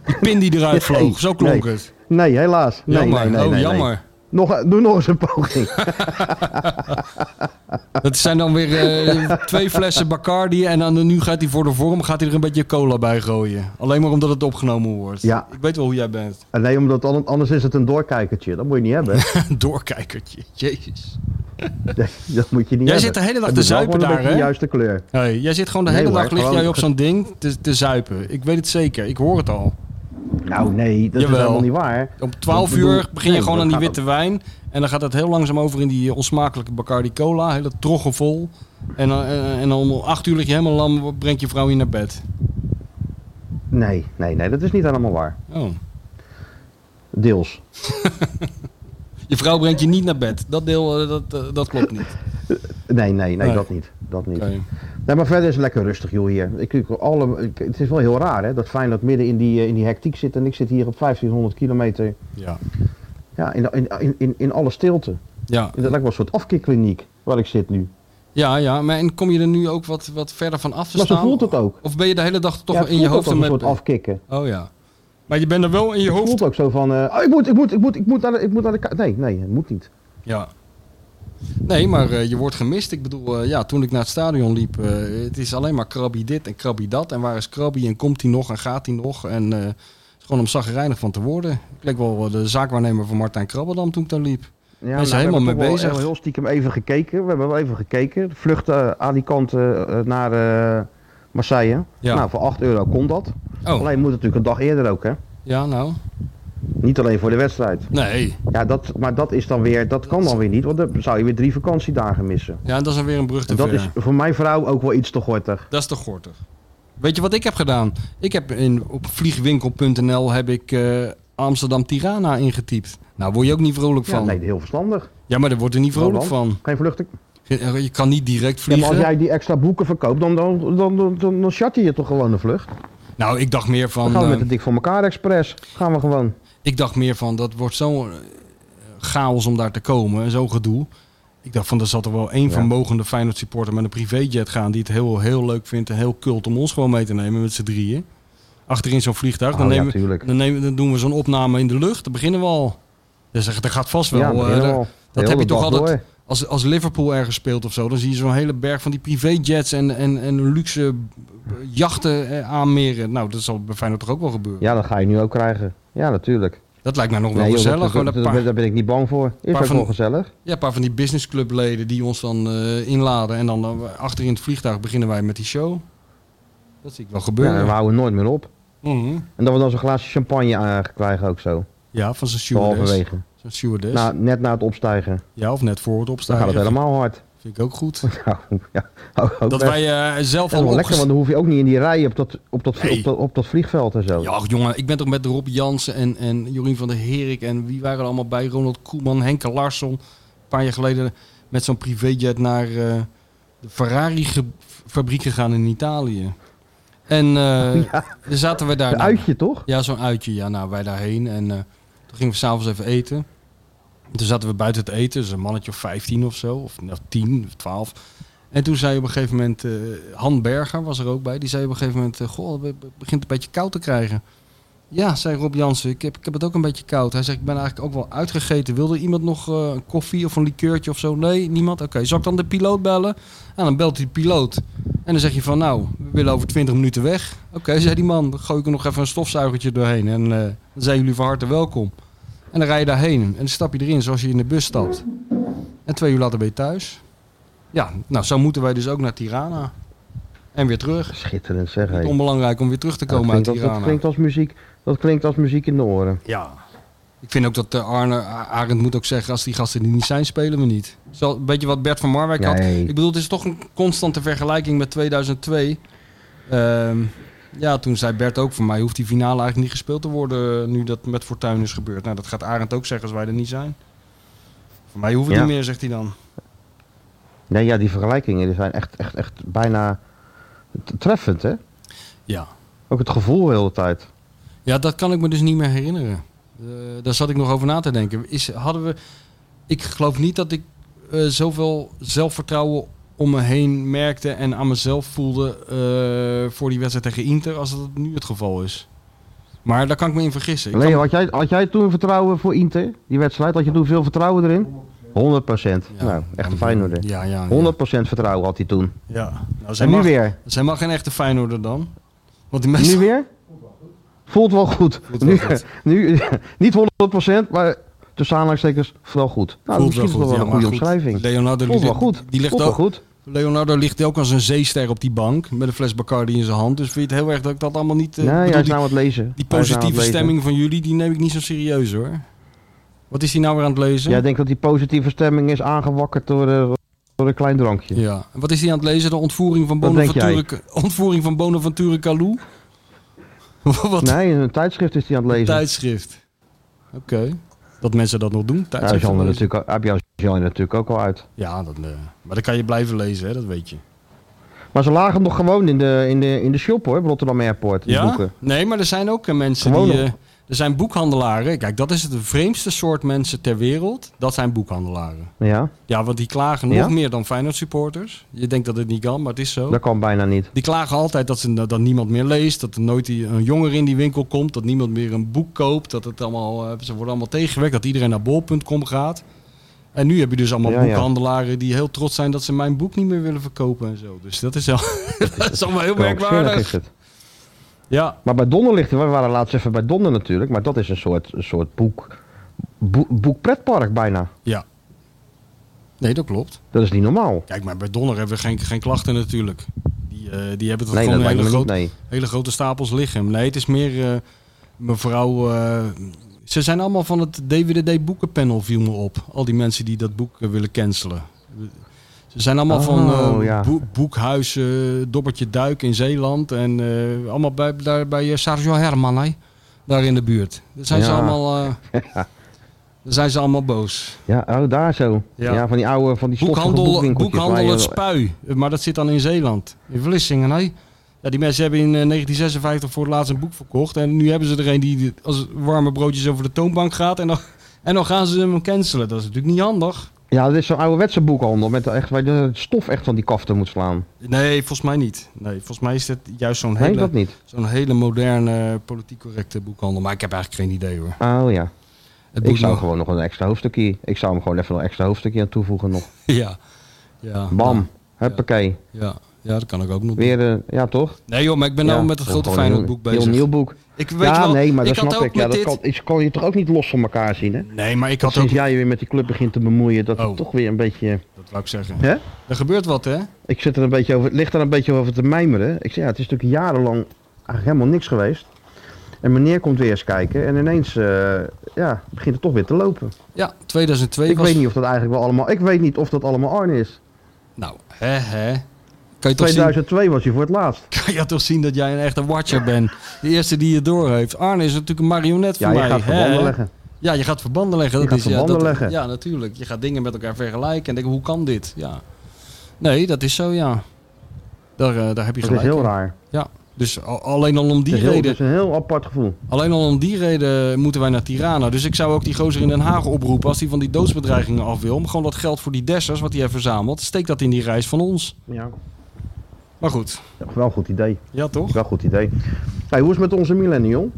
S3: Die pin die eruit
S2: Nee,
S3: vloog, zo klonk
S2: nee.
S3: het.
S2: Nee, helaas. Nee,
S3: Jammer,
S2: nee, nee,
S3: oh
S2: nee, nee.
S3: jammer.
S2: Nog, eh, doe nog eens een poging.
S3: Dat zijn dan weer eh, twee flessen Bacardi en dan, nu gaat hij voor de vorm gaat hij er een beetje cola bij gooien. Alleen maar omdat het opgenomen wordt.
S2: Ja.
S3: Ik weet wel hoe jij bent.
S2: Eh, nee, omdat an- anders is het een doorkijkertje. Dat moet je niet hebben.
S3: Een doorkijkertje, jezus.
S2: dat moet je niet
S3: Jij
S2: hebben.
S3: zit de hele dag
S2: Het
S3: te
S2: is wel
S3: zuipen
S2: gewoon een
S3: daar,
S2: beetje de
S3: hè?
S2: juiste kleur.
S3: Hey, jij zit gewoon de
S2: Nee,
S3: hele
S2: hoor,
S3: dag ligt
S2: gewoon-
S3: jij op zo'n ding te, te zuipen. Ik weet het zeker, ik hoor het al.
S2: Nou nee, dat
S3: Jawel.
S2: is helemaal niet waar.
S3: Om 12
S2: Ik bedoel,
S3: uur begin je
S2: nee,
S3: gewoon
S2: dat
S3: aan die
S2: gaat
S3: witte wijn. En dan gaat het heel langzaam over in die eh, onsmakelijke Bacardi Cola. Hele troggen vol. En, dan- en, en dan om 8 uur lig je helemaal lam, brengt je vrouw je naar bed.
S2: Nee, nee, nee, dat is niet helemaal waar.
S3: Oh.
S2: Deels.
S3: Je vrouw brengt je niet naar bed. Dat deel, eh, dat, eh, dat klopt niet.
S2: Nee, nee, nee,
S3: Nee.
S2: dat niet. Dat niet.
S3: Oké.
S2: Nee, maar verder is het lekker rustig, joh, hier. Ik, ik- alle, ik- het is wel heel raar, hè, dat Feyenoord midden in die, eh, in die hectiek zit en ik zit hier op 1500 kilometer
S3: Ja.
S2: ja, in, in, in- in, in alle stilte.
S3: Ja.
S2: Dat lijkt wel een soort afkikkliniek waar ik zit nu.
S3: ja, ja. Maar en kom je er nu ook wat, wat verder van af te
S2: Maar zo
S3: staan?
S2: voelt het ook.
S3: Of ben je de hele dag toch
S2: Ja, het
S3: in je
S2: voelt ook
S3: hoofd
S2: als
S3: en
S2: een
S3: met...
S2: soort afkikken.
S3: Oh ja. Maar je bent er wel in je
S2: Het
S3: hoofd.
S2: voelt ook zo van, eh, oh, ik moet, ik moet, ik moet, ik moet naar de, ik moet naar de ka- Nee, nee, het moet niet.
S3: Ja. Nee, maar eh, je wordt gemist. Ik bedoel, eh, ja, toen ik naar het stadion liep, eh, het is alleen maar krabby dit en krabby dat. En waar is krabby en komt hij nog en gaat hij nog? En eh, het is gewoon om zagrijnig van te worden. Ik leek wel eh, de zaakwaarnemer van Martijn Krabbedam toen ik daar liep.
S2: Ja, nou,
S3: zijn
S2: we
S3: helemaal
S2: hebben
S3: mee
S2: toch wel
S3: bezig.
S2: Heel, heel stiekem even gekeken. We hebben wel even gekeken. De Vlucht eh, Alicante eh, naar eh, Marseille.
S3: Ja.
S2: Nou, voor 8 euro kon dat.
S3: Oh,
S2: Alleen moet het natuurlijk een dag eerder ook, hè.
S3: ja, nou.
S2: Niet alleen voor de wedstrijd.
S3: Nee.
S2: Ja, dat, maar dat is dan weer, dat kan dan weer niet, want dan zou je weer drie vakantiedagen missen.
S3: Ja, dat is dan weer een brug te
S2: En dat
S3: ver.
S2: is voor mijn vrouw ook wel iets te gortig.
S3: Dat is toch gortig. Weet je wat ik heb gedaan? Ik heb in, op vliegwinkel.nl heb ik eh, Amsterdam Tirana ingetypt. Nou, word je ook niet vrolijk
S2: Ja,
S3: van.
S2: nee, heel verstandig.
S3: Ja, maar daar word je niet vrolijk van.
S2: Geen vluchten.
S3: Je je kan niet direct
S2: Ja, maar
S3: vliegen.
S2: als jij die extra boeken verkoopt, dan, dan, dan, dan, dan, dan chart je je toch gewoon een vlucht.
S3: Nou, ik dacht meer
S2: Dan
S3: van.
S2: gaan we met
S3: eh,
S2: de Dik voor elkaar express. Gaan we gewoon.
S3: Ik dacht meer van, dat wordt zo'n eh, chaos om daar te komen en zo'n gedoe. Ik dacht van, er zal er wel één
S2: Ja.
S3: vermogende Feyenoord supporter met een privéjet gaan... die het heel, heel leuk vindt en heel kult om ons gewoon mee te nemen met z'n drieën. Achterin zo'n vliegtuig, dan,
S2: Oh, ja,
S3: nemen,
S2: tuurlijk.
S3: dan, nemen, dan doen we zo'n opname in de lucht. Dan beginnen we al. Dus er er gaat vast wel...
S2: Ja,
S3: eh,
S2: beginnen we
S3: er-
S2: al.
S3: dat
S2: Heel
S3: heb je
S2: de
S3: toch
S2: dag
S3: altijd...
S2: door.
S3: Als, als Liverpool ergens speelt of zo, dan zie je zo'n hele berg van die privéjets en, en, en luxe jachten eh, aanmeren. Nou, dat zal bij Feyenoord toch ook wel gebeuren?
S2: Ja, dat ga je nu ook krijgen. Ja, natuurlijk.
S3: Dat lijkt mij nog wel
S2: joh, dat-
S3: gezellig.
S2: dat-
S3: gewoon een
S2: dat-
S3: paar-
S2: daar ben ik niet bang voor. Is
S3: paar
S2: ook
S3: van-
S2: wel gezellig.
S3: Ja, een paar van die businessclubleden die ons dan eh, inladen. En dan eh, achter in het vliegtuig beginnen wij met die show. Dat zie ik wel
S2: Ja,
S3: gebeuren. Mhm.
S2: en we
S3: Ja,
S2: houden nooit meer op. En dat we dan zo'n glaasje champagne aan krijgen ook zo.
S3: van zijn stewardess.
S2: Halverwege.
S3: Zijn stewardess.
S2: Na, net na het opstijgen.
S3: ja, of net voor
S2: Nou,
S3: het
S2: Dan
S3: opstaan.
S2: gaat het helemaal hard.
S3: Vind ik ook goed.
S2: Nou, ja, ook- ook
S3: Dat
S2: echt.
S3: wij eh,
S2: Dat
S3: zelf
S2: is
S3: al
S2: wel lekker, want
S3: opges-
S2: dan hoef je ook niet in die rij op dat, op dat,
S3: Nee.
S2: op dat, op dat vliegveld en zo.
S3: Ja, ach, jongen, ik ben toch met Rob Jansen en, en Jorien van der Herik en wie waren er allemaal bij? Ronald Koeman, Henke Larsson. Een paar jaar geleden met zo'n privéjet naar eh, de Ferrari-fabriek gegaan in Italië. En eh dan zaten we daar.
S2: Een
S3: nou-
S2: uitje toch?
S3: Ja, zo'n uitje. Ja, nou, wij daarheen. En eh, toen gingen we s'avonds even eten. En toen zaten we buiten het eten. Dus een mannetje of 15 of zo. Of nou, 10 of 12. En toen zei op een gegeven moment... eh Han Berger was er ook bij. Die zei op een gegeven moment... eh, Goh, het be- begint een beetje koud te krijgen. Ja, zei Rob Jansen. Ik heb, ik heb het ook een beetje koud. Hij zegt, ik ben eigenlijk ook wel uitgegeten. Wilde iemand nog eh, een koffie of een likeurtje of zo? Nee, niemand? Oké, zal ik dan de piloot bellen? En dan belt hij de piloot. En dan zeg je van, nou, we willen over 20 minuten weg. Oké, zei die man, dan gooi ik er nog even een stofzuigertje doorheen. En eh, dan zijn jullie van harte welkom. En dan rij je daarheen. En dan stap je erin zoals je in de bus stapt. En twee uur later ben je thuis. Ja, nou, zo moeten wij dus ook naar Tirana. En weer terug.
S2: Schitterend zeg. hé.
S3: Niet onbelangrijk om weer terug te
S2: Ja, dat,
S3: komen
S2: klinkt
S3: uit
S2: als,
S3: Tirana.
S2: dat klinkt als muziek. Dat klinkt als muziek in de oren.
S3: Ja. Ik vind ook dat eh, Arne, A- Arend moet ook zeggen, als die gasten er niet zijn, spelen we niet. Zo, een beetje wat Bert van Marwijk had.
S2: Nee.
S3: Ik bedoel, het is toch een constante vergelijking met 2002. Ehm, ja, toen zei Bert ook van mij, hoeft die finale eigenlijk niet gespeeld te worden eh, nu dat met Fortuin is gebeurd. Nou, dat gaat Arend ook zeggen als wij er niet zijn. Voor mij hoeft het
S2: Ja.
S3: niet meer, zegt hij dan.
S2: Nee, ja, die vergelijkingen die zijn echt, echt, echt bijna t- treffend, hè?
S3: Ja.
S2: Ook het gevoel de hele tijd.
S3: Ja, dat kan ik me dus niet meer herinneren. Eh, daar zat ik nog over na te denken. Is, hadden we, ik geloof niet dat ik eh, zoveel zelfvertrouwen om me heen merkte en aan mezelf voelde eh, voor die wedstrijd tegen Inter als dat nu het geval is. Maar daar kan ik me in vergissen. Ik
S2: Leo,
S3: kan-
S2: had jij, had jij toen vertrouwen voor Inter, die wedstrijd? Had je toen veel vertrouwen erin? 100
S3: Ja.
S2: nou, echt een Feyenoorder.
S3: Ja, ja. ja.
S2: 100 vertrouwen had hij toen.
S3: Ja. Nou, zij,
S2: En nu
S3: mag,
S2: weer?
S3: zij mag geen echte Feyenoorder dan. Want die
S2: Nu Nou,
S3: mensen...
S2: weer? Voelt wel goed.
S3: wel
S2: nu,
S3: goed.
S2: nu, niet 100 maar tussen aanhalingstekens wel goed. Nou,
S3: Voelt
S2: misschien is dat wel
S3: ja,
S2: een
S3: maar
S2: goede omschrijving.
S3: Leonardo,
S2: Voelt
S3: die,
S2: wel goed.
S3: Die ligt
S2: Voelt wel
S3: ook,
S2: goed.
S3: Leonardo ligt ook als een zeester op die bank met een fles Bacardi in zijn hand. Dus vind je het heel erg dat ik dat allemaal niet... eh,
S2: Nee, hij
S3: bedoel,
S2: is
S3: die,
S2: nou aan het lezen.
S3: die
S2: Hij is nou aan het
S3: positieve
S2: lezen.
S3: stemming van jullie, die neem ik niet zo serieus hoor. Wat is hij nou weer aan het lezen?
S2: Jij denkt dat die positieve stemming is aangewakkerd door, eh, door een klein drankje.
S3: Ja. En Wat is hij aan het lezen? De ontvoering van
S2: Wat denk
S3: Bonaventure, ontvoering van Bonaventure Calou? Wat
S2: Nee, in een tijdschrift is hij aan het
S3: een
S2: lezen.
S3: tijdschrift. Oké. Dat mensen dat nog doen.
S2: Ja,
S3: Tijdschrift.
S2: Jan er natuurlijk, al- heb je als Jan er natuurlijk ook al uit.
S3: ja dat, eh, maar dan kan je blijven lezen, hè, dat weet je.
S2: Maar ze lagen hem nog gewoon in de, in de, in de shop hoor, op Rotterdam Airport. Die boeken.
S3: Nee, maar er zijn ook eh, mensen
S2: Gewoon
S3: die...
S2: nog.
S3: eh, er zijn boekhandelaren. Kijk, dat is het vreemdste soort mensen ter wereld. Dat zijn boekhandelaren.
S2: Ja,
S3: Ja, want die klagen nog
S2: Ja?
S3: meer dan Feyenoord supporters. Je denkt dat het niet kan, maar het is zo.
S2: dat kan bijna niet.
S3: Die klagen altijd dat, ze, dat niemand meer leest. Dat er nooit die- een jongere in die winkel komt. Dat niemand meer een boek koopt. Dat het allemaal, eh, ze worden allemaal tegengewerkt. Dat iedereen naar bol.com gaat. En nu heb je dus allemaal
S2: Ja, ja.
S3: boekhandelaren die heel trots zijn dat ze mijn boek niet meer willen verkopen en zo. Dus dat is, wel, dat is allemaal heel
S2: Krankzinnig
S3: merkwaardig.
S2: is het.
S3: Ja,
S2: Maar bij Donner ligt, we waren laatst even bij Donner natuurlijk, maar dat is een soort, een soort boek, boek, boekpretpark bijna.
S3: ja. Nee, dat klopt.
S2: Dat is niet normaal.
S3: Kijk, maar bij Donner hebben we geen, geen klachten natuurlijk. Die, eh, die hebben dat
S2: Nee, dat
S3: gewoon in
S2: lijkt
S3: hele,
S2: me niet.
S3: grote-
S2: Nee.
S3: hele grote stapels liggen. Nee, het is meer eh, mevrouw... eh, ze zijn allemaal van het DWDD boekenpanel viel me op. Al die mensen die dat boek eh, willen cancelen. Ze zijn allemaal
S2: Oh,
S3: van eh,
S2: ja.
S3: boe- boekhuizen, Dobbertje Duik in Zeeland. En eh, allemaal bij, daar, bij eh, Sergio Herman, hè? daar in de buurt. Daar zijn, ze
S2: Ja.
S3: allemaal, eh, daar zijn ze allemaal boos.
S2: Ja, oh, daar zo.
S3: Ja.
S2: Ja. van die oude, van die stoffige
S3: Boekhandel,
S2: boekwinkeltjes waar
S3: boekhandel
S2: je-
S3: het spui. Maar dat zit dan in Zeeland. In Vlissingen, hè? Ja, die mensen hebben in eh, 1956 voor het laatst een boek verkocht. En nu hebben ze er een die als warme broodjes over de toonbank gaat. En dan, en dan gaan ze hem cancelen. Dat is natuurlijk niet handig.
S2: Ja, dit is zo'n ouderwetse boekhandel met echt, waar je het stof echt van die kaften moet slaan.
S3: Nee, volgens mij niet. Nee, volgens mij is het juist zo'n
S2: Nee,
S3: hele,
S2: dat niet.
S3: zo'n hele moderne, politiek correcte boekhandel. Maar ik heb eigenlijk geen idee hoor.
S2: Oh ja.
S3: Het
S2: Ik
S3: moet
S2: zou
S3: nog-
S2: gewoon nog een extra hoofdstukje. Ik zou hem gewoon even een extra hoofdstukje aan toevoegen nog.
S3: Ja. Ja,
S2: Bam. Huppakee.
S3: Ja, ja, dat kan ik ook nog doen.
S2: Weer, eh, ja toch?
S3: Nee joh, maar ik ben
S2: Ja,
S3: nou met het
S2: gewoon
S3: grote
S2: een heel-
S3: Feyenoordboek bezig.
S2: Heel nieuw boek.
S3: Ik weet
S2: ja,
S3: wel,
S2: nee, maar
S3: ik
S2: dat
S3: had
S2: snap
S3: ook
S2: ik. Ja,
S3: met
S2: dat
S3: dit...
S2: kan, ik kan je toch ook niet los van elkaar zien, hè?
S3: Nee, maar ik
S2: Dat
S3: had ook...
S2: sinds jij je weer met die club begint te bemoeien, dat
S3: Oh.
S2: het toch weer een beetje...
S3: Dat wou ik zeggen.
S2: Hè?
S3: Er gebeurt wat, hè?
S2: Ik zit er een beetje over, ligt er een beetje over te mijmeren. Ik zeg, ja, het is natuurlijk jarenlang eigenlijk helemaal niks geweest. En meneer komt weer eens kijken en ineens eh, ja, begint het toch weer te lopen.
S3: Ja, 2002
S2: Ik
S3: was...
S2: weet niet of dat eigenlijk wel allemaal, ik weet niet of dat allemaal Arne is.
S3: Nou, hè, hè. Kan je, toch zien,
S2: 2002 was hij voor het laatst.
S3: kan je toch zien dat jij een echte watcher bent? De eerste die je door heeft. Arne is natuurlijk een marionet
S2: Ja,
S3: voor
S2: je
S3: mij.
S2: gaat
S3: hè?
S2: verbanden leggen.
S3: Ja, je gaat verbanden leggen.
S2: Je
S3: dat
S2: gaat
S3: is,
S2: verbanden
S3: ja, dat-
S2: leggen.
S3: Ja, natuurlijk. Je gaat dingen met elkaar vergelijken en denken, hoe kan dit? Ja. Nee, dat is zo, ja. Daar, eh, daar heb je
S2: Dat is
S3: gelijk.
S2: heel
S3: in.
S2: raar.
S3: Dus al- alleen al om die
S2: Het is, heel,
S3: reden
S2: het is een heel apart gevoel.
S3: Alleen al om die reden moeten wij naar Tirana. Dus ik zou ook die gozer in Den Haag oproepen als hij van die doodsbedreigingen af wil. Om gewoon dat geld voor die dessers wat hij heeft verzameld. Steek dat in die reis van ons.
S2: Ja.
S3: Maar goed,
S2: Ja, wel een goed idee.
S3: ja toch?
S2: Wel een goed idee. Hey, hoe is het met onze millennial?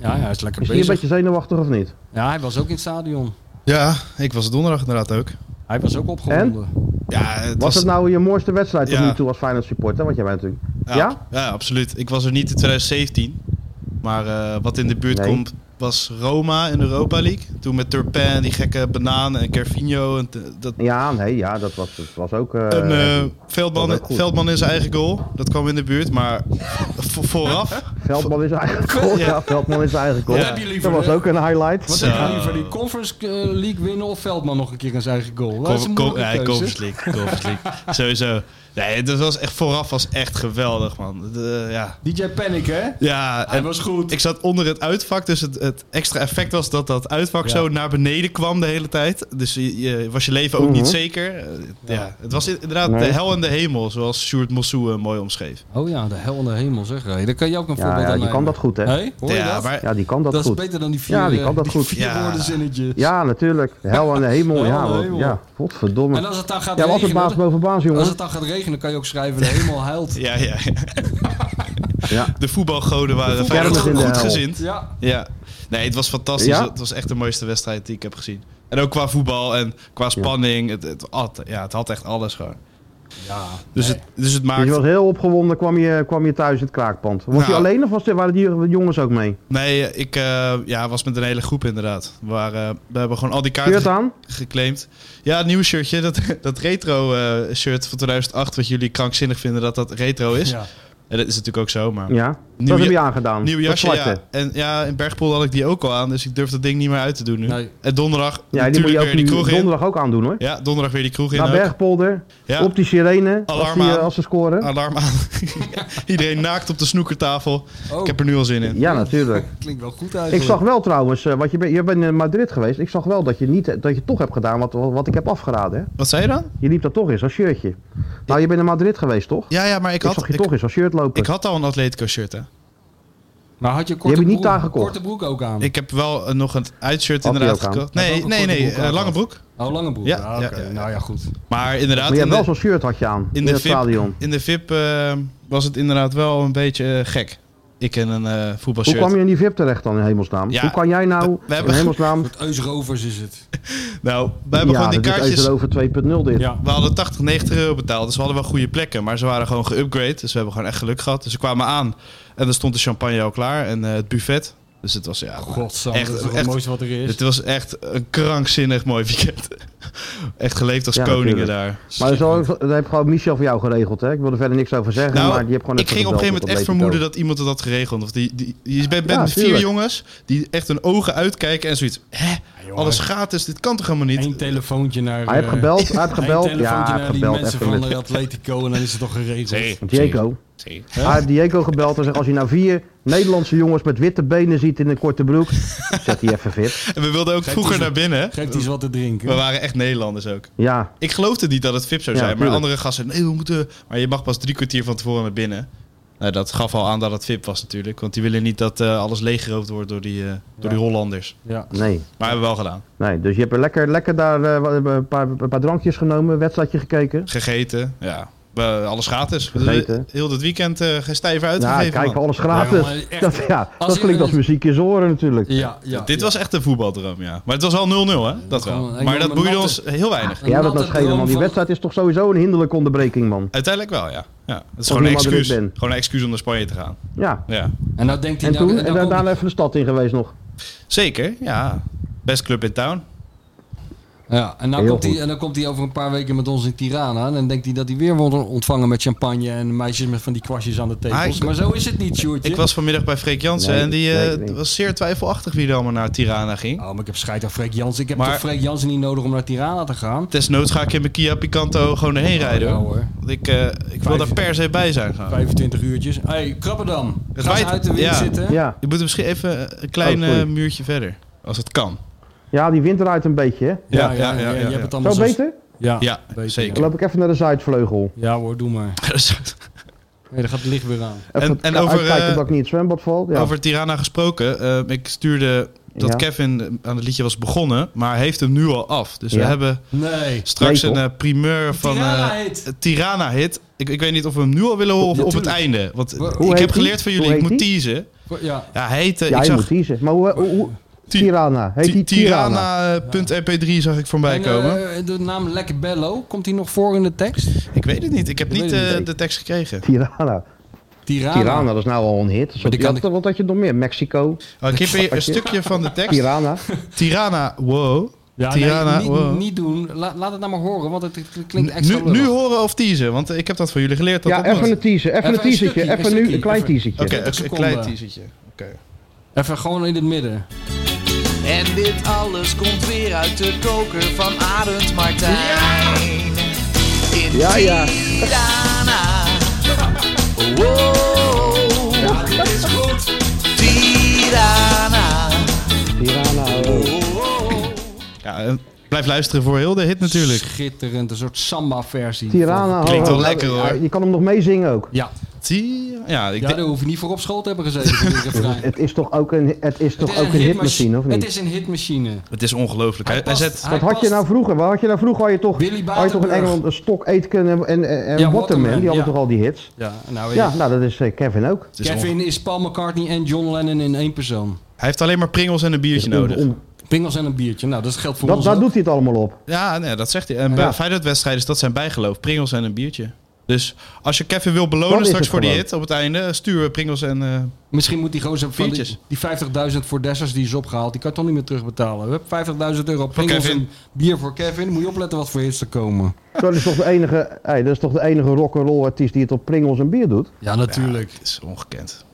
S3: Ja, hij is lekker
S2: Is hij een
S3: bezig.
S2: beetje zenuwachtig of niet?
S3: Ja, hij was ook in het stadion.
S4: Ja, ik was donderdag inderdaad ook.
S3: Hij was ook opgewonden.
S4: Ja, het
S2: Was het nou je mooiste wedstrijd tot
S4: Ja.
S2: nu toe als Feyenoord supporter? Want jij bent natuurlijk...
S4: Ja,
S2: nou- Ja?
S4: ja? absoluut. Ik was er niet in 2017. Maar eh, wat in de buurt
S2: Nee.
S4: komt was Roma in de Europa League. Toen met Turpin, die gekke banaan en Carvinho. En te- dat,
S2: Ja, nee, ja, dat was, dat was ook... eh,
S4: een eh, veldman,
S2: dat was goed.
S4: veldman in zijn eigen goal. Dat kwam in de buurt. Maar vo- vooraf...
S2: Veldman is eigenlijk goal. Ja. Veldman is eigenlijk goal.
S4: Wat heb je
S3: liever,
S2: dat was
S3: hè?
S2: ook een highlight.
S3: Wat
S4: Zo.
S3: heb je liever, die Conference eh, League winnen of Veldman nog een keer een zijn eigen goal? Dat is een
S4: Kom-
S3: moeilijke
S4: nee,
S3: keuze.
S4: Conference League. Conference League. Sowieso. Nee, dat was echt, vooraf was echt geweldig, man. De- ja.
S3: DJ Panic, hè?
S4: Ja,
S3: Hij
S4: en-
S3: was goed.
S4: Ik zat onder het uitvak, dus het, het extra effect was dat dat uitvak
S3: Ja.
S4: zo naar beneden kwam de hele tijd. Dus je, je- was je leven ook niet
S2: Mhm.
S4: zeker. Eh, ja.
S3: Ja.
S4: Het was inderdaad
S2: Nee.
S4: de hel en de hemel, zoals Sjoerd Mossou eh, mooi omschreef.
S3: Oh ja, de hel en de hemel, zeg. Hey, daar kan je ook een
S2: Ja,
S3: voorbeeld
S2: ja,
S3: aan
S2: die kan dat goed, hè?
S3: Hé, hoor je
S4: ja,
S3: dat?
S4: maar
S2: Ja, die kan dat,
S3: dat is
S2: goed.
S3: beter dan die vier, eh,
S2: Ja, die kan dat
S3: die
S2: goed.
S3: vier
S4: Ja.
S3: woordenzinnetjes.
S2: Ja, natuurlijk. Hel en de hemel.
S3: Hel en
S2: ja,
S3: de
S2: wat,
S3: hemel.
S2: ja, godverdomme.
S3: En als het dan gaat
S2: Ja, wat een
S3: regenen,
S2: baas boven baas,
S3: Als
S2: jongen.
S3: het dan gaat regenen, kan je ook schrijven: de hemel huilt.
S4: ja, ja.
S2: Ja.
S4: de voetbalgoden waren
S2: voetbalgoden
S4: Feyenoord
S2: in de
S4: goed
S2: hel.
S4: gezind.
S3: Ja,
S4: Ja. Nee, het was fantastisch.
S2: Ja?
S4: Het was echt de mooiste wedstrijd die ik heb gezien. En ook qua voetbal en qua spanning. Het, het, had, ja, het had echt alles gewoon.
S3: Ja.
S4: Dus, het, dus het
S2: Dus je
S4: maakt...
S2: was heel opgewonden, kwam je, kwam je thuis in het kraakpand. Was
S4: Nou.
S2: je alleen of was er- waren die jongens ook mee?
S4: Nee, eh, ik eh, ja, was met een hele groep inderdaad. We, waren, we hebben gewoon al die kaarten
S2: Shirt aan?
S4: geclaimd. Ja, het nieuwe shirtje, dat, dat retro eh, shirt van 2008, wat jullie krankzinnig vinden dat dat retro is.
S3: Ja.
S4: En dat is natuurlijk ook zo, maar...
S2: Ja.
S4: Nieuw
S2: dat heb
S4: ja-
S2: je aangedaan.
S4: Nieuw
S2: Dat
S4: jasje,
S2: zwarte.
S4: ja. En ja, in Bergpool had ik die ook al aan, dus ik durf dat ding niet meer uit te doen nu.
S3: Nee.
S4: En donderdag
S2: Ja, die moet
S4: natuurlijk
S2: je ook
S4: weer die
S2: nu
S4: kroeg in.
S2: donderdag ook aandoen hoor.
S4: Ja, donderdag weer die kroeg in.
S2: Naar
S4: ook.
S2: Bergpolder,
S4: ja,
S2: op die sirene, als,
S4: Alarm
S2: die, eh,
S4: aan. Ah.
S2: als ze scoren.
S4: alarm aan. Iedereen naakt op de snoekertafel.
S3: Oh,
S4: Ik heb er nu al zin in.
S2: Ja, natuurlijk.
S3: klinkt wel goed eigenlijk.
S2: Ik zag wel trouwens, eh, wat je, bent- je bent in Madrid geweest. Ik zag wel dat je, niet, eh, dat je toch hebt gedaan wat, wat ik heb afgeraden. Hè?
S4: Wat zei je dan?
S2: Je liep daar toch eens als shirtje. Nou, je bent in Madrid geweest toch?
S4: Ja, ja, maar ik
S2: ik,
S4: had,
S2: zag je
S4: ik,
S2: toch Hm. eens als shirt lopen.
S4: ik had al een Atletico shirt, hè.
S3: Maar had je
S2: Die
S3: korte,
S2: heb ik niet
S3: broek,
S2: daar gekocht.
S3: korte broek ook aan?
S4: Ik heb wel eh, nog een uitshirt
S2: Had die
S4: inderdaad
S2: ook aan?
S4: gekocht.
S3: Had
S4: Nee,
S3: ook een
S4: nee,
S3: korte
S4: nee,
S3: broek aan
S4: eh, lange
S3: gehad.
S4: broek.
S3: Oh, lange broek.
S4: Ja,
S3: Ja,
S4: ja,
S3: oké.
S4: ja, ja.
S3: Nou ja, goed.
S4: Maar inderdaad,
S2: maar je hebt
S4: in,
S2: wel
S4: de,
S2: zo'n shirt had je aan in,
S4: de
S2: het
S4: VIP.
S2: stadion.
S4: in de VIP eh, was het inderdaad wel een beetje eh, gek. Ik en een eh
S2: Hoe
S4: voetbalshirt.
S2: kwam je in die VIP terecht dan in hemelsnaam?
S4: Ja,
S2: Hoe kan jij nou
S4: we hebben-
S2: in hemelsnaam...
S3: Met Eusrovers is het.
S4: Nou, we hebben
S2: ja, dus
S4: gewoon die
S2: dat is
S4: kaartjes...
S2: over 2.0 dit.
S3: Ja.
S4: We hadden 80, 90 euro betaald, dus we hadden wel goede plekken. Maar ze waren gewoon geüpgrade, dus we hebben gewoon echt geluk gehad. Dus ze kwamen aan en er stond de champagne al klaar en eh, het buffet. Dus het was, ja,
S3: Godzang,
S4: Echt,
S3: dat is toch
S4: echt.
S3: het mooiste wat er is.
S4: het was echt een krankzinnig mooi weekend. echt geleefd als
S2: Ja,
S4: koningen
S2: natuurlijk.
S4: daar.
S2: Maar zo, dat heb gewoon Michel voor jou geregeld, hè? Ik wil er verder niks over zeggen,
S4: Nou,
S2: maar die heb gewoon
S4: Ik
S2: even
S4: ging op een gegeven
S2: gebeld
S4: moment echt
S2: dat weet
S4: vermoeden
S2: ik
S4: dat iemand het had geregeld. Of die, die, je bent
S2: Ja,
S4: met vier
S2: tuurlijk.
S4: jongens die echt hun ogen uitkijken en zoiets. Hè,
S3: Ja, jongen,
S4: alles gratis, dit kan toch helemaal niet?
S3: Eén telefoontje naar...
S2: ook. Hij heeft
S3: eh,
S2: gebeld, hij heeft
S3: één
S2: gebeld.
S3: telefoontje
S2: Ja,
S3: naar die
S2: gebeld
S3: mensen
S2: even
S3: van
S2: met
S3: de Atletico en dan is het toch geregeld.
S4: Zee,
S2: Diego.
S4: zee.
S2: Hij heeft Diego gebeld en zegt als hij nou vier Nederlandse jongens met witte benen ziet in een korte broek, zet hij even fit.
S4: En we wilden ook
S3: Geef
S4: vroeger
S3: die-
S4: naar binnen.
S3: Geef die eens wat te
S4: We
S3: drinken.
S4: waren echt Nederlanders ook.
S2: Ja,
S4: Ik geloofde niet dat het VIP zou
S2: Ja,
S4: zijn, maar
S2: tuurlijk.
S4: andere gasten, nee, we moeten... Maar je mag pas drie kwartier van tevoren naar binnen. Nou, dat gaf al aan dat het VIP was natuurlijk, want die willen niet dat eh, alles leeggeroofd wordt door die, eh, door die Hollanders.
S3: Ja.
S2: nee.
S4: Maar hebben we wel gedaan.
S2: Nee, dus je hebt er lekker, lekker daar eh, wa- een, paar, een paar drankjes genomen, wedstrijdje gekeken.
S4: Gegeten, ja. We- alles gratis.
S2: Gegeten.
S4: Heel dit weekend eh geen stijf
S2: Ja,
S4: uitgegeven.
S2: kijk,
S4: man.
S2: alles
S3: Ja,
S2: gratis.
S3: jongen, echt.
S2: dat, ja, dat
S3: Als-
S2: klinkt als muziek in zijn oren natuurlijk.
S3: Ja, ja.
S4: Dit
S3: ja.
S4: was echt een voetbaldroom, ja. Maar het was wel 0-0, hè? Dat
S3: Gewoon
S4: wel.
S3: een
S4: Maar dat
S3: enorme
S4: boeide ons
S3: natte-
S4: heel weinig.
S3: Een
S2: Ja, dat
S3: natte
S2: dat schelen,
S3: droom
S2: man. Die
S3: van-
S2: wedstrijd is toch sowieso een hinderlijke onderbreking, man.
S4: Uiteindelijk wel, ja. ja. Het is
S2: Of
S4: gewoon een
S2: je Madrid
S4: excuus.
S2: bent.
S4: Gewoon een excuus om naar Spanje te gaan.
S2: Ja.
S4: Ja.
S3: En nou denkt hij...
S2: En
S3: nou,
S2: toen,
S3: nou
S2: en we
S3: komt-
S2: daarna even de stad in geweest nog.
S4: Zeker, ja. Best club in town.
S3: Ja, en, nou
S2: Heel
S3: komt hij,
S2: goed.
S3: en dan komt hij over een paar weken met ons in Tirana. En dan denkt hij dat hij weer wordt ontvangen met champagne en meisjes met van die kwastjes aan de tepels.
S4: ik-
S3: maar zo is het niet, Sjoerdje.
S4: Ik was vanmiddag bij Freek Jansen
S2: Nee,
S4: en die
S2: nee,
S4: eh,
S2: ik weet niet.
S4: was zeer twijfelachtig wie er allemaal naar Tirana ging.
S3: Oh, maar ik heb scheid aan Freek Jans. Ik heb
S4: Maar-
S3: toch Freek Jansen niet nodig om naar Tirana te gaan?
S4: Desnoods ga ik in mijn Kia Picanto gewoon erheen rijden.
S3: Ja,
S4: hoor.
S3: hoor.
S4: Want ik, eh, ik
S3: Vijf-
S4: wil daar per se bij zijn gaan.
S3: 25 uurtjes. Hé, hey, Krabberdam.
S4: Het
S3: Ga eens
S4: waait-
S3: uit de wind
S4: ja.
S3: zitten.
S2: Ja.
S4: Je moet er misschien even een klein
S2: Oh, sorry.
S4: eh, muurtje verder. Als het kan.
S2: ja, die wind eruit een beetje, hè.
S4: Ja, ja, ja,
S3: Je
S4: ja.
S3: hebt het allemaal
S2: Zo
S3: zo-
S2: beter?
S3: Ja,
S4: Ja,
S3: beter,
S4: zeker.
S2: Dan loop ik even naar de zuidvleugel.
S3: Ja hoor, doe maar. Nee, dan gaat het licht weer aan.
S2: Even
S4: En- en
S2: ka-
S4: over,
S2: uitkijken
S4: eh,
S2: dat ik niet in het zwembad val. Ja.
S4: Over Tirana gesproken. eh, ik stuurde dat
S2: Ja.
S4: Kevin aan het liedje was begonnen, maar hij heeft hem nu al af. Dus we
S2: Ja.
S4: hebben
S3: Nee.
S4: straks
S2: Nee,
S4: een
S2: toch?
S4: eh, primeur van
S3: Tirana
S4: eh
S3: heet.
S4: Tirana hit. Ik, ik weet niet of we hem nu al willen horen of op het
S3: Natuurlijk.
S4: einde. Want
S3: Hoe
S4: ik
S2: heet
S4: heb
S2: die?
S4: geleerd van
S2: Hoe
S4: jullie, ik
S2: heet
S4: moet
S2: die?
S4: teasen.
S3: Ja.
S4: Ja, hij heet, eh,
S2: ja,
S4: ik
S2: je
S4: zag
S2: moet kiezen. Maar hoe... hoe, hoe-
S4: Ti-
S2: Tirana. Heet die
S4: Ti-
S2: Tirana?
S4: Tirana eh, punt .mp3 zag ik voorbij
S3: En,
S4: komen.
S3: eh, de naam Lekker Bello, komt die nog voor in de tekst?
S4: ik weet het niet. Ik heb
S3: ik
S4: niet
S3: weet het
S4: eh,
S3: niet.
S4: de tekst gekregen.
S2: Tirana.
S3: Tirana.
S2: Tirana, dat is nou al een hit.
S3: Maar die kan
S2: Ja, dat- Wat had je nog meer? Mexico,
S4: Oh, ik heb hier een
S2: Fuck je.
S4: stukje van de tekst.
S2: Tirana.
S4: Tirana, wow.
S3: Ja,
S4: Tirana,
S3: nee, niet,
S4: wow.
S3: niet doen. La- laat het nou maar horen, want het, het klinkt extra
S4: Nu, nu horen of teasen, want ik heb dat van jullie geleerd. Dat
S2: Ja,
S4: dat
S2: even
S4: moet.
S2: een teaser. Even
S3: Even
S2: een
S3: een
S2: teasertje.
S3: stukje, een
S2: Even nu
S3: stukje.
S2: een klein
S3: Even-
S2: teasertje.
S4: Oké,
S3: 30
S4: een klein
S3: seconden.
S4: teasertje. Oké.
S3: Even gewoon in het midden.
S1: En dit alles komt weer uit de koker van Arend Martijn. In
S2: Ja, ja.
S1: Tirana. Wow. dit is goed. Tirana.
S2: Tirana. oh.
S1: Wow.
S4: Ja, eh, blijf luisteren voor heel de hit natuurlijk.
S3: Schitterend, een soort samba-versie.
S2: Tirana.
S3: Van-
S2: oh,
S4: Klinkt wel
S2: oh,
S4: lekker,
S2: oh,
S4: hoor.
S2: ja, Je kan hem nog meezingen ook.
S3: Ja,
S4: Ti- Ja, ik
S3: ja
S4: denk-
S3: daar hoef je niet voor op school te hebben gezeten. voor dit refrein.
S2: Het is toch ook een, het is toch
S3: Het
S2: ook een
S3: hitmachi-
S2: hitmachine, of
S3: Het
S2: niet?
S3: is een hitmachine.
S4: het is ongelooflijk. Hij, hij
S3: past-
S4: zet,
S3: hij
S2: Wat had je
S3: past-
S2: nou vroeger? Wat had je nou vroeger? Had je toch,
S3: Billy
S2: had je toch in
S3: Batenburg.
S2: Engeland een stok, Aitken en, en, en
S3: Ja,
S2: Waterman?
S3: Waterman,
S2: Die hadden
S3: ja.
S2: toch al die hits?
S3: Ja, nou,
S2: Ja, nou dat is eh, Kevin ook.
S4: het is onge-
S3: Kevin is Paul McCartney en John Lennon in één persoon.
S4: hij heeft alleen maar pringels en een biertje nodig.
S2: On-
S3: pingels en een biertje. Nou, dat geldt voor
S2: Dat,
S3: ons
S2: daar
S3: ook.
S2: doet hij het allemaal op.
S4: Ja, nee, dat zegt hij. En bij
S2: Ja.
S4: Feyenoord-wedstrijders, dat zijn bijgeloof. Pringels en een biertje. Dus als je Kevin wil belonen
S2: Dan is
S4: straks
S2: het
S4: voor die
S2: gewoon.
S4: hit op het einde, stuur Pringels en... eh,
S3: Misschien moet die gozer van die,
S4: Biertjes.
S3: die 50.000 voor Dessers die is opgehaald, die kan toch niet meer terugbetalen. Hup, 50.000 euro pringels
S4: Kevin.
S3: en bier voor Kevin. Moet je opletten wat voor hits er komen.
S2: Dat is toch de enige, hey, dat is toch de enige rock'n'roll artiest die het op Pringels en bier doet?
S3: Ja, natuurlijk.
S4: ja, het is ongekend.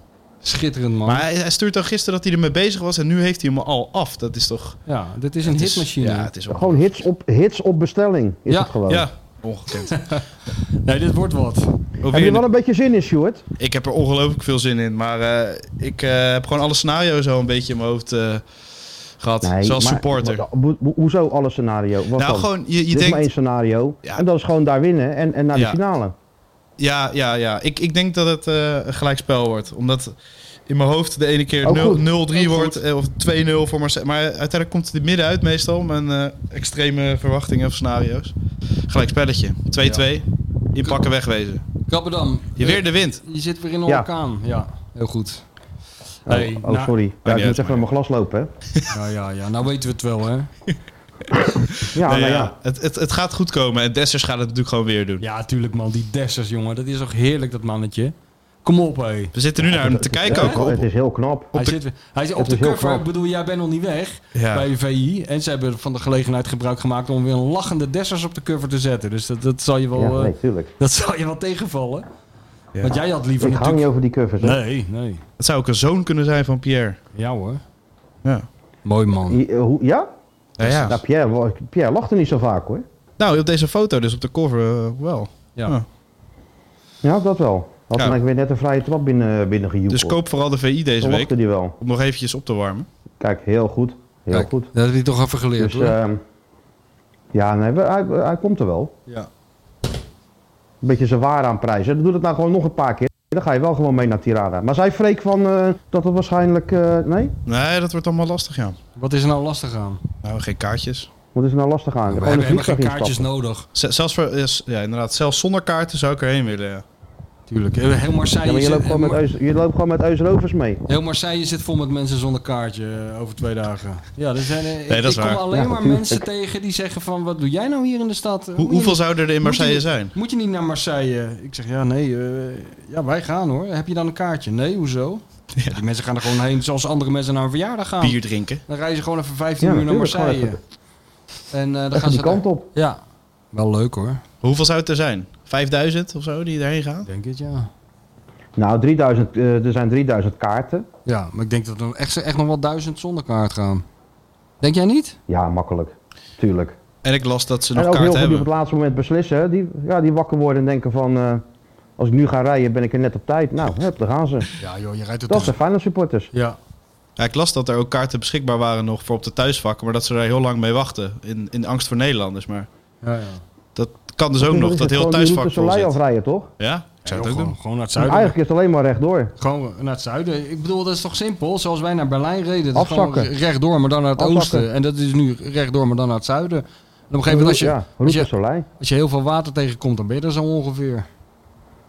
S3: Schitterend, man.
S4: Maar hij, hij stuurt al gisteren dat hij ermee bezig was en nu heeft hij hem al af. Dat is toch...
S3: ja, dit is een
S4: het is-
S3: hitmachine.
S4: Ja, het is
S2: Gewoon
S4: ongekend.
S2: hits op, hits op bestelling is
S3: Ja,
S2: het gewoon.
S4: Ja, ongekend.
S3: Nee, dit wordt wat.
S2: Heb je
S4: Weer-
S2: wel een beetje zin in, Stuart?
S4: Ik heb er ongelooflijk veel zin in, maar eh, ik eh, heb gewoon alle scenario's al een beetje in mijn hoofd eh, gehad. Zoals
S2: maar-
S4: supporter.
S2: wat- ho- ho- hoezo alle scenario? Wat
S4: nou,
S2: dan?
S4: gewoon, je,
S2: Er
S4: je
S2: is maar één
S4: denkt...
S2: scenario.
S4: Ja.
S2: En dat is gewoon daar winnen en, en naar
S4: Ja.
S2: de finale. Oh,
S4: Ja, ja, ja. Ik, ik denk dat het eh, een gelijkspel wordt. Omdat in mijn hoofd de ene keer
S2: Ook
S4: nul-
S2: Oh, goed.
S4: 0-3 wordt eh, of 2-0 voor Marseille. Maar uiteindelijk komt het er midden uit meestal. Mijn eh, extreme verwachtingen of scenario's. Gelijkspelletje. 2-2. Inpakken, wegwezen.
S3: Krabbedam,
S4: Je weer de wind.
S3: je zit weer in een
S2: Ja.
S3: orkaan. Ja, heel goed.
S2: Oh,
S3: Hey,
S2: oh,
S3: nou-
S2: sorry. Ja,
S4: uit,
S2: ik moet even
S4: maar-
S2: naar mijn glas lopen. Hè.
S3: Ja, ja, ja. Nou weten we het wel, hè.
S2: Ja,
S4: Nee,
S2: nou
S4: ja.
S2: ja.
S4: Het, het, het gaat goed komen. En Dessers gaat het natuurlijk gewoon weer doen.
S3: Ja, tuurlijk, man. Die Dessers, jongen. Dat is toch heerlijk, dat mannetje. Kom op, hé.
S4: We zitten nu naar hem te kijken
S2: Ja,
S4: ook.
S2: Het
S4: Op,
S2: is heel knap.
S3: Hij,
S4: de-
S3: zit, weer- hij zit op
S2: Het
S3: de
S2: is heel
S3: cover.
S2: knap.
S3: Ik bedoel, jij bent nog niet weg
S4: Ja.
S3: bij VI. En ze hebben van de gelegenheid gebruik gemaakt om weer een lachende Dessers op de cover te zetten. Dus dat, dat zal je wel...
S2: Ja,
S3: eh,
S2: nee, tuurlijk.
S3: Dat zal je wel tegenvallen.
S4: Ja.
S3: Want jij had liever
S2: Ik hang
S3: natuurlijk...
S2: niet over die covers. hè.
S3: Nee, nee.
S4: het zou ook een zoon kunnen zijn van Pierre.
S3: Ja hoor.
S4: Ja.
S3: Mooi man.
S2: Je- eh, hoe- ja?
S4: Ja,
S2: Nou, Pierre, wa- Pierre lacht er niet zo vaak hoor.
S4: Nou, op deze foto, dus op de cover eh, wel.
S3: Ja.
S4: Ja.
S2: Ja, dat wel. Had
S4: Ja.
S2: eigenlijk weer net een vrije trap binnen, binnen gejoeld.
S4: Dus koop vooral de VI deze
S2: Dan
S4: week.
S2: lachte die wel.
S4: Om nog eventjes op te warmen.
S2: Kijk, heel goed. Heel
S3: Kijk,
S2: goed.
S3: Dat heb je toch even geleerd
S2: Dus
S3: hoor.
S2: ehm, ja, nee, we- hij, hij komt er wel.
S4: Ja.
S2: Een beetje zijn waar aan prijzen. Doe dat nou gewoon nog een paar keer. Dan ga je wel gewoon mee naar Tirana. Maar zei Freek van eh, dat het waarschijnlijk... eh, nee?
S4: Nee, dat wordt allemaal lastig, ja.
S3: Wat is er nou lastig aan?
S4: Nou, geen kaartjes.
S2: Wat is er nou lastig aan?
S3: We
S2: Gewoon
S3: hebben
S2: een
S3: helemaal
S2: vliegtuig
S3: geen kaartjes
S2: instappen.
S3: nodig.
S4: Z- zelfs, voor, eh, s- ja, inderdaad, zelfs zonder kaarten zou ik erheen willen, ja.
S3: Tuurlijk. Eh, Heel Marseille,
S2: Ja, maar je
S3: zit,
S2: loopt gewoon met,
S3: heel Mar-
S2: Eus- je loopt gewoon met Eus Rovers mee.
S3: heel Marseille zit vol met mensen zonder kaartje eh, over twee dagen. Ja, er zijn, eh, ik-
S4: dat is
S3: ik
S4: waar.
S3: kom alleen
S2: Ja,
S3: maar
S2: tuurlijk.
S3: mensen tegen die zeggen van... Wat doe jij nou hier in de stad? Moet
S4: Hoe,
S3: je
S4: hoeveel
S3: niet-
S4: zouden er in
S3: moet je-
S4: Marseille zijn?
S3: Moet je niet naar Marseille? Ik zeg ja, nee. eh, ja, wij gaan hoor. Heb je dan een kaartje? Nee, hoezo? Ja, die mensen gaan er gewoon heen zoals andere mensen naar een verjaardag gaan.
S4: Bier drinken.
S3: Dan reizen ze gewoon even 15
S2: Ja,
S3: uur naar
S2: natuurlijk, gewoon
S3: Marseille.
S2: even-
S3: en eh, dan
S2: Even
S3: gaan
S2: die
S3: ze
S2: kant op.
S3: daar- Ja. Wel leuk hoor.
S4: Hoeveel zou het er zijn? 5000 of zo die erheen gaan?
S3: Denk het ja.
S2: Nou, 3000, eh, er zijn 3000 kaarten.
S3: Ja, maar ik denk dat er echt, echt nog wel duizend zonder kaart gaan. Denk jij niet?
S2: Ja, makkelijk. Tuurlijk.
S4: En ik las dat ze
S2: En
S4: nog
S2: ook heel
S4: kaarten
S2: veel die op het
S4: hebben.
S2: laatste moment beslissen. hè. Die, ja, die wakker worden en denken van... eh, als ik nu ga rijden, ben ik er net op tijd. Nou, hup, daar gaan ze.
S3: Ja joh, je rijdt het
S2: Dat
S3: toch...
S2: zijn Feyenoord supporters.
S3: Ja.
S4: Ja, ik las dat er ook kaarten beschikbaar waren nog voor op de thuisvakken. Maar dat ze daar heel lang mee wachten. In, in angst voor Nederlanders. Maar
S3: Ja, ja.
S4: dat kan dus ook nog. Dat heel thuisvak vol
S2: Soleil
S4: zit.
S2: afrijden, toch?
S4: Ja? Ik zou het ook
S3: gewoon,
S4: doen.
S3: gewoon naar het
S2: Want
S3: zuiden.
S2: Eigenlijk is het alleen maar rechtdoor.
S3: Gewoon naar het zuiden. Ik bedoel, dat is toch simpel? Zoals wij naar Berlijn reden. Dat is gewoon
S2: Afzakken.
S3: rechtdoor, maar dan naar het
S2: Afzakken.
S3: oosten. En dat is nu rechtdoor, maar dan naar het zuiden. En op een gegeven moment, als je,
S2: ja,
S3: als,
S2: route
S3: je,
S2: Soleil.
S3: als je heel veel water tegenkomt, dan ben je er zo ongeveer.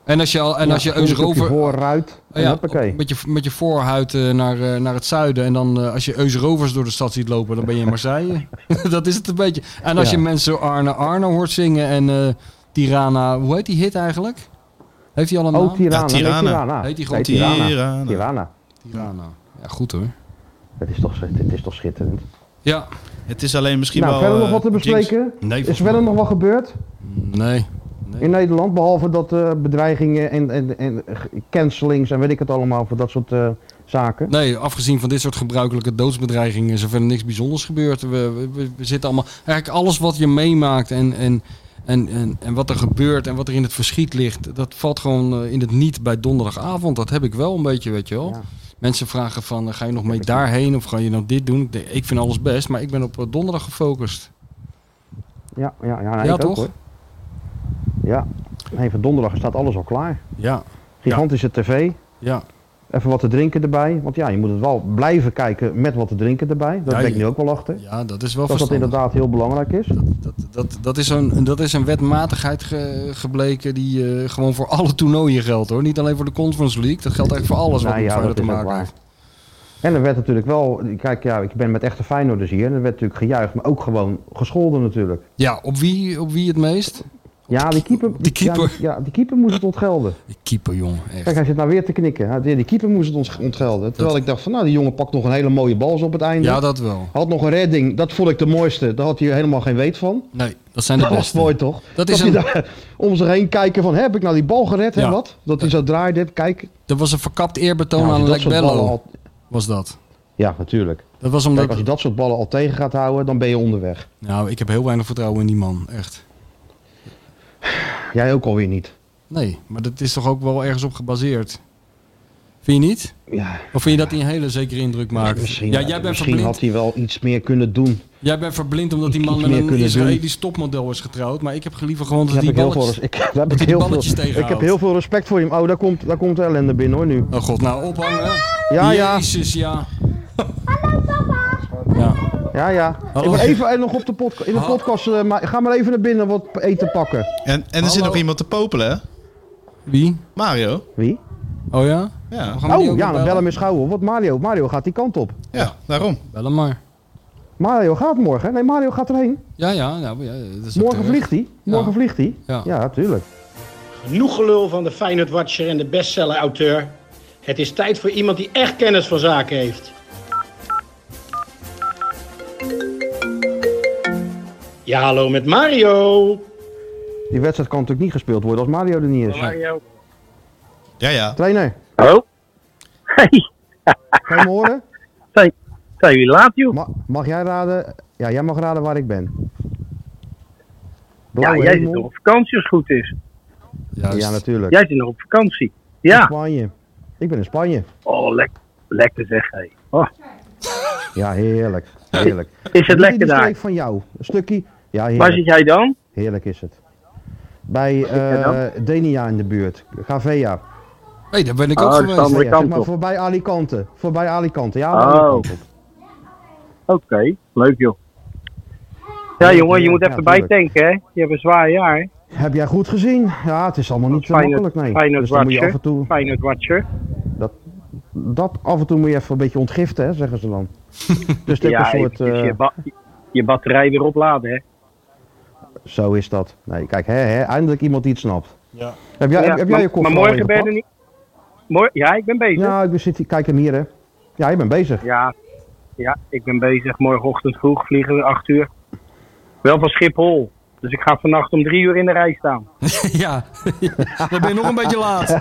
S3: En als je, al, en als je
S2: over
S3: Eusrover...
S2: Vooruit.
S3: Oh
S2: En
S3: ja,
S2: hoppakee.
S3: met, je, met je voorhuid eh, naar, eh, naar het zuiden. En dan eh, als je Eusrovers door de stad ziet lopen, dan ben je in Marseille. dat is het een beetje. En als
S2: Ja.
S3: je mensen Arne Arne hoort zingen en eh, Tirana... Hoe heet die hit eigenlijk? Heeft hij al een naam?
S2: Oh, Tirana.
S4: Ja,
S2: nee,
S4: Tirana.
S2: Tirana.
S3: Heet die
S2: Nee,
S3: gewoon
S2: Tirana.
S4: Tirana.
S2: Tirana.
S3: Tirana. Ja, goed hoor.
S2: Het is toch, schit- het is toch schitterend.
S3: Ja.
S4: Het is alleen misschien
S2: nou,
S4: wel...
S2: verder nog
S4: eh,
S2: wat te
S4: jinx.
S2: bespreken?
S3: Nee,
S2: Is er verder nog wat gebeurd
S3: Nee.
S2: in Nederland? Behalve dat eh, bedreigingen en, en, en cancelings en weet ik het allemaal voor dat soort eh, zaken.
S3: Nee, afgezien van dit soort gebruikelijke doodsbedreigingen is er verder niks bijzonders gebeurd. We, we- we, we zitten allemaal. Eigenlijk alles wat je meemaakt en, en, en, en, en wat er gebeurt en wat er in het verschiet ligt, dat valt gewoon eh, in het niet bij donderdagavond. Dat heb ik wel een beetje, weet je wel.
S2: Ja.
S3: Mensen vragen van, eh, ga je nog mee daarheen of ga je nou dit doen? Ik, denk, ik vind alles best, maar ik ben op eh, donderdag gefocust.
S2: Ja, ja, ja, nee, ik
S3: ja,
S2: ook,
S3: toch?
S2: hoor. Ja, nee, van donderdag staat alles al klaar.
S3: Ja,
S2: Gigantische tv,
S3: ja.
S2: even wat te drinken erbij. Want ja, je moet het wel blijven kijken met wat te drinken erbij. Daar
S3: Ja,
S2: ben
S3: je-
S2: ik nu ook wel achter.
S3: ja, dat is wel
S2: dat dat
S3: verstandig.
S2: inderdaad heel belangrijk is.
S3: Dat, dat, dat, is een, dat is een wetmatigheid ge- gebleken die eh, gewoon voor alle toernooien geldt hoor. Niet alleen voor de Conference League. Dat geldt eigenlijk voor alles wat
S2: Nou
S3: met
S2: ja,
S3: Feyenoord
S2: dat
S3: te
S2: is ook
S3: maken
S2: waar.
S3: heeft.
S2: En er werd natuurlijk wel, kijk ja, ik ben met echte Feyenoorders hier. En er werd natuurlijk gejuicht, maar ook gewoon gescholden natuurlijk.
S3: Ja, op wie, op wie het meest?
S2: Ja, die keeper,
S3: die keeper.
S2: Ja, ja, die keeper moest het ontgelden.
S3: Die keeper, jongen. Echt.
S2: Kijk, hij zit nou weer te knikken. Hij- Die keeper moest het ons ontgelden. Terwijl ik dacht van, nou die jongen pakt nog een hele mooie bal zo op het einde.
S3: Ja, dat wel.
S2: Had nog een redding, dat vond ik de mooiste. Daar had hij helemaal geen weet van.
S3: Nee, dat zijn de
S2: Dat was
S3: beste.
S2: mooi toch?
S3: Dat
S2: Dat,
S3: is
S2: hij
S3: een-
S2: daar om zich heen kijken van heb ik nou die bal gered en
S3: Ja.
S2: wat? Dat hij zo draaide, kijk.
S3: Dat was een verkapt eerbetoon
S2: Ja, als je
S3: aan
S2: dat
S3: Lek
S2: soort ballen
S3: Bello.
S2: al-
S3: Was dat.
S2: ja, natuurlijk.
S3: Dat was
S2: Kijk,
S3: omdat...
S2: als je dat soort ballen al tegen gaat houden, dan ben je onderweg.
S3: Nou, ik heb heel weinig vertrouwen in die man. Echt.
S2: Jij ook alweer niet.
S3: Nee, maar dat is toch ook wel ergens op gebaseerd. Vind je niet?
S2: Ja,
S3: Of vind je dat hij een hele zekere indruk maakt?
S2: misschien,
S3: ja, jij bent
S2: misschien
S3: verblind.
S2: had hij wel iets meer kunnen doen.
S3: Jij bent verblind omdat die
S2: Iets
S3: man met
S2: meer
S3: een
S2: kunnen doen.
S3: Israëlisch topmodel is getrouwd. Maar ik heb liever gewoon
S2: Daar
S3: dat
S2: heb
S3: die
S2: ik, heel veel, res-
S3: balletjes...
S2: ik, daar heb
S3: die
S2: ik, heel
S3: balletjes
S2: veel, ik heb
S3: tegenhoudt.
S2: heel veel respect voor hem. Oh, daar komt, daar komt ellende binnen hoor nu.
S3: Oh god, nou ophangen.
S2: Ja, ja.
S3: Jezus, ja. Hallo papa. Ja.
S2: Ja, ja.
S3: Hallo.
S2: Ik moet even eh, nog op de podca- in de
S3: Hallo.
S2: podcast. eh, maar, ga maar even naar binnen wat eten pakken.
S4: En, en er zit
S3: Hallo.
S4: nog iemand te popelen, hè?
S3: Wie?
S4: Mario.
S2: Wie?
S3: Oh ja?
S4: Ja,
S3: We gaan die
S2: Oh
S3: ook
S2: ja,
S3: nog
S2: dan bellen we schouwen. Wat Mario? Mario gaat die kant op.
S4: ja daarom.
S3: Bellen maar.
S2: Mario gaat morgen. hè? Nee, Mario gaat erheen.
S3: Ja, ja. nou, ja, maar ja dat is eh, ook
S2: Morgen
S3: terecht.
S2: vliegt hij. Morgen vliegt hij.
S3: Ja.
S2: Ja. tuurlijk.
S5: Genoeg gelul van de Feyenoord Watcher en de bestseller-auteur. Het is tijd voor iemand die echt kennis van zaken heeft. Ja, hallo met Mario.
S2: Die wedstrijd kan natuurlijk niet gespeeld worden als Mario er niet is.
S6: Mario.
S4: Ja, ja.
S2: Trainer,
S6: Hallo? Hey,
S2: ga je me horen?
S6: zijn jullie laat, joh?
S2: Ma- mag jij raden? Ja, jij mag raden waar ik ben.
S6: Ja,
S2: Blauwe
S6: jij zit
S2: hemel.
S6: nog op vakantie als het goed is.
S3: Juist.
S2: Ja, natuurlijk.
S6: Jij zit nog op vakantie.
S2: In
S6: Ja.
S2: Spanje. Ik ben in Spanje.
S6: Oh, lek- lekker zeg, hé. Oh,
S2: Ja, heerlijk. Heerlijk.
S6: is
S2: Niet
S6: het lekker
S2: in die
S6: daar?
S2: streek van jou. Een stukje. Ja,
S6: Waar
S2: heerlijk.
S6: zit jij dan?
S2: Heerlijk is het. Bij eh Denia in de buurt. Gavea.
S3: hey, daar ben ik
S6: Oh,
S3: ook
S6: dat is
S3: geweest.
S6: allemaal- Andere
S2: Ja, zeg
S6: kant
S2: maar
S6: op.
S2: voorbij Alicante. Voorbij Alicante. Ja,
S6: Oh.
S2: andere kant op.
S6: Oké, leuk, joh. Ja, jongen, je moet
S2: Ja,
S6: even bijtanken, hè? Je hebt een zwaar jaar, hè?
S2: Heb jij goed gezien? Ja, het is allemaal niet zo
S6: Feyenoord-
S2: makkelijk, nee.
S6: Feyenoord
S2: dus dan moet je
S6: watcher.
S2: af en toe,
S6: Feyenoord Watcher.
S2: dat af en toe moet je even een beetje ontgiften, hè, zeggen ze dan. dus dit
S6: ja,
S2: een soort,
S6: eventjes
S2: eh,
S6: je, ba- je batterij weer opladen, hè?
S2: zo is dat. Nee, kijk, hè, hè, eindelijk iemand die het snapt. Heb jij,
S6: Ja,
S2: heb, heb
S6: maar-
S2: jij je koffer
S6: Maar
S2: al
S6: morgen ben je er
S2: ingepakt?
S6: niet... Mor- ja, ik ben bezig.
S2: Ja, ik ben zit, hier- kijk hem hier, hè. Ja, je bent bezig.
S6: Ja, ja, ik ben bezig. Morgenochtend vroeg vliegen we 8 uur. Wel van Schiphol. Dus ik ga vannacht om drie uur in de rij staan.
S3: ja. dan ben je nog een beetje laat.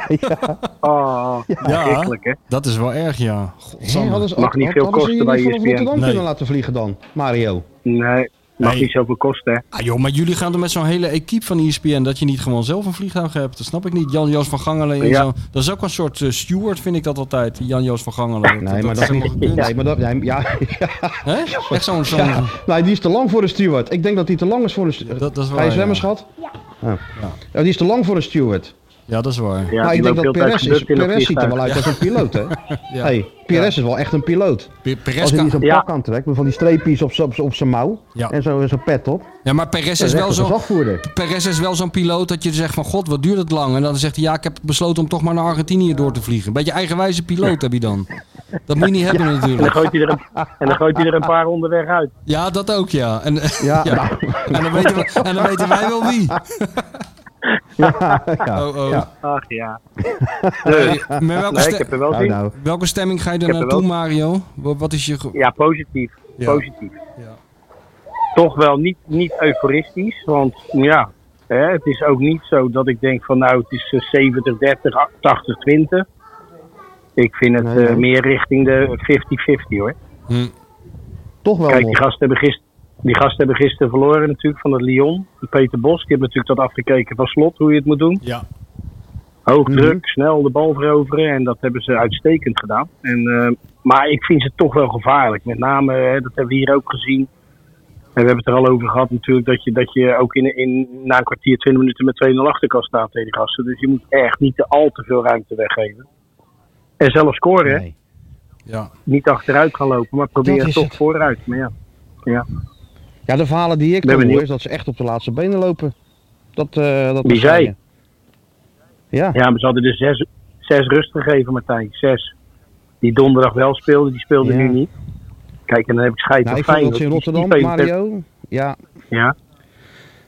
S6: Oh, verschrikkelijk hè.
S3: Dat is wel erg, ja.
S2: Hè,
S3: Godsamme.
S2: ze-
S6: Mag niet veel
S2: hadden ze
S6: kosten bij E
S2: je niet vanaf
S6: ESPN.
S2: Rotterdam
S3: Nee.
S2: kunnen laten vliegen dan, Mario?
S6: Nee, mag
S3: Nee.
S6: niet zoveel kosten hè.
S3: Ah joh, maar jullie gaan er met zo'n hele equipe van E ESPN dat je niet gewoon zelf een vliegtuig hebt. Dat snap ik niet. Jan-Joos van Gangelen en
S6: Ja.
S3: zo. Dat is ook een soort eh, steward, vind ik dat altijd. die Jan-Joos van Gangelen.
S2: Nee, maar dat,
S3: is helemaal geen kunst.
S2: nee, maar dat, nee, ja,
S3: Hè? Echt zo'n... zo'n-
S2: ja, nee, die is te lang voor een steward. Ik denk dat die te lang is voor een steward.
S3: Dat- dat is
S2: Ga
S3: waar,
S2: je
S3: ja.
S2: zwemmen, schat? Ja.
S3: Ja.
S2: Ja, die is te lang voor een steward.
S3: Ja, dat is waar.
S6: Ja,
S2: maar
S6: die
S2: ik denk
S6: loopt
S2: dat
S6: heel tijd
S2: Perez, is,
S6: gebukt in dat
S2: Perez ziet er wel
S6: vliegtuig.
S2: uit als een piloot, hè?
S3: Ja.
S2: Hey, Perez is wel echt een piloot.
S3: Pe-
S2: Als
S3: Perez
S2: hij
S3: kan-
S2: niet zo'n
S6: Ja.
S2: pak aantrekt, met van die streepjes op, z'n- op, z'n- op zijn mouw
S3: Ja.
S2: en zo- zo'n pet op.
S3: Ja, maar Perez is
S2: Dat is
S3: wel
S2: echt een
S3: zo'n...
S2: gezagvoerder.
S3: Perez is wel zo'n piloot dat je zegt van god, wat duurt het lang? En dan zegt hij ja, ik heb besloten om toch maar naar Argentinië door te vliegen. Beetje eigenwijze piloot heb je dan. Dat moet je niet hebben
S6: En dan,
S3: natuurlijk.
S6: gooit hij er een, en dan gooit hij er een paar onderweg uit.
S3: Ja, dat ook ja. En,
S2: Ja,
S3: ja.
S2: nou,
S3: en, dan, weten we- en dan weten wij wel wie.
S2: ja.
S3: Oh, oh.
S2: Ja.
S6: Ach ja. Dus,
S3: Met welke,
S6: nee,
S3: ste-
S6: ik heb er wel
S2: Nou,
S6: zin in.
S2: nou.
S3: welke stemming ga je er
S6: heb er
S3: naartoe,
S6: wel-
S3: Mario? Wa- Wat is je... ge-
S6: Ja, positief.
S3: Ja.
S6: Positief.
S3: Ja.
S6: Toch wel niet, niet euforistisch, want ja, hè, het is ook niet zo dat ik denk van nou het is eh, 70, 30, 80, 20. Ik vind het
S2: Nee,
S6: eh,
S2: nee.
S6: meer richting de 50-50 hoor.
S2: Toch wel
S6: Kijk,
S2: nog.
S6: die gasten, hebben gister, die gasten hebben gisteren verloren natuurlijk van het Lyon. Die Peter Bos, die heeft natuurlijk dat afgekeken van slot, hoe je het moet doen.
S3: Ja.
S6: Hoog
S2: Mhm.
S6: druk, snel de bal veroveren en dat hebben ze uitstekend gedaan. En, eh, maar ik vind ze toch wel gevaarlijk. Met name, eh, dat hebben we hier ook gezien. En we hebben het er al over gehad natuurlijk, dat je, dat je ook in, in, na een kwartier, twintig minuten met 2-0 achter kan staan tegen die gasten. Dus je moet echt niet te al te veel ruimte weggeven. En zelf scoren, hè.
S2: Nee.
S3: Ja.
S6: niet achteruit gaan lopen, maar
S2: Dat
S6: probeer
S2: is
S6: toch
S2: het.
S6: vooruit. Maar ja.
S2: Ja, de verhalen die ik
S6: Ben
S2: dan hoor
S6: benieuwd.
S2: is dat ze echt op de laatste benen lopen. Dat, eh dat
S6: Wie zei?
S2: Ja,
S6: Ja, maar ze hadden dus zes, zes rust gegeven, Martijn. Zes.
S5: die donderdag wel speelde, die speelde
S2: Ja.
S5: nu niet. Kijk, en dan heb ik scheid
S2: Nou,
S5: aan
S2: ik vond dat
S5: Feyenoord.
S2: ze in
S5: Die- die
S2: Rotterdam,
S5: spelers hebben-
S2: Mario. Ja,
S5: Ja.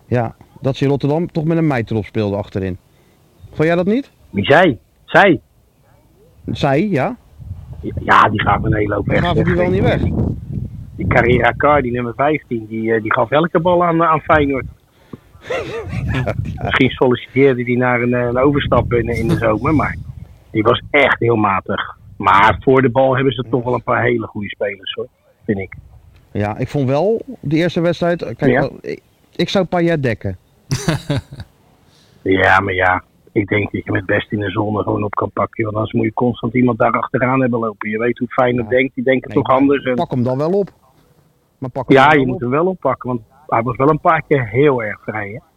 S2: ja, dat ze in Rotterdam toch met een meid erop speelde achterin. Vond jij dat niet?
S5: Wie zij? Zij? Dus
S2: Zij, ja.
S5: Ja, die gaat met een hele hoop weg.
S2: Gaven die wel niet weg.
S5: Die Carrera Car, die nummer 15, die, eh, die gaf elke bal aan, aan Feyenoord. Misschien solliciteerde hij naar een, eh, een overstap in, in de zomer, maar die was echt heel matig. Maar voor de bal hebben ze toch wel een paar hele goede spelers hoor, vind ik.
S2: Ja, ik vond wel de eerste wedstrijd. eh, Kijk,
S5: Ja.
S2: wel, ik, ik zou Payet dekken.
S5: Ja, maar ja, ik denk dat je met best in de zone gewoon op kan pakken. Want anders moet je constant iemand daar achteraan hebben lopen. Je weet hoe Feyenoord denkt, die denken
S2: Nee,
S5: toch anders. En...
S2: Pak hem dan wel op. Maar pak hem
S5: Ja,
S2: dan
S5: je
S2: wel
S5: moet hem wel oppakken, want hij was wel een paar keer heel erg vrij hè.
S2: op.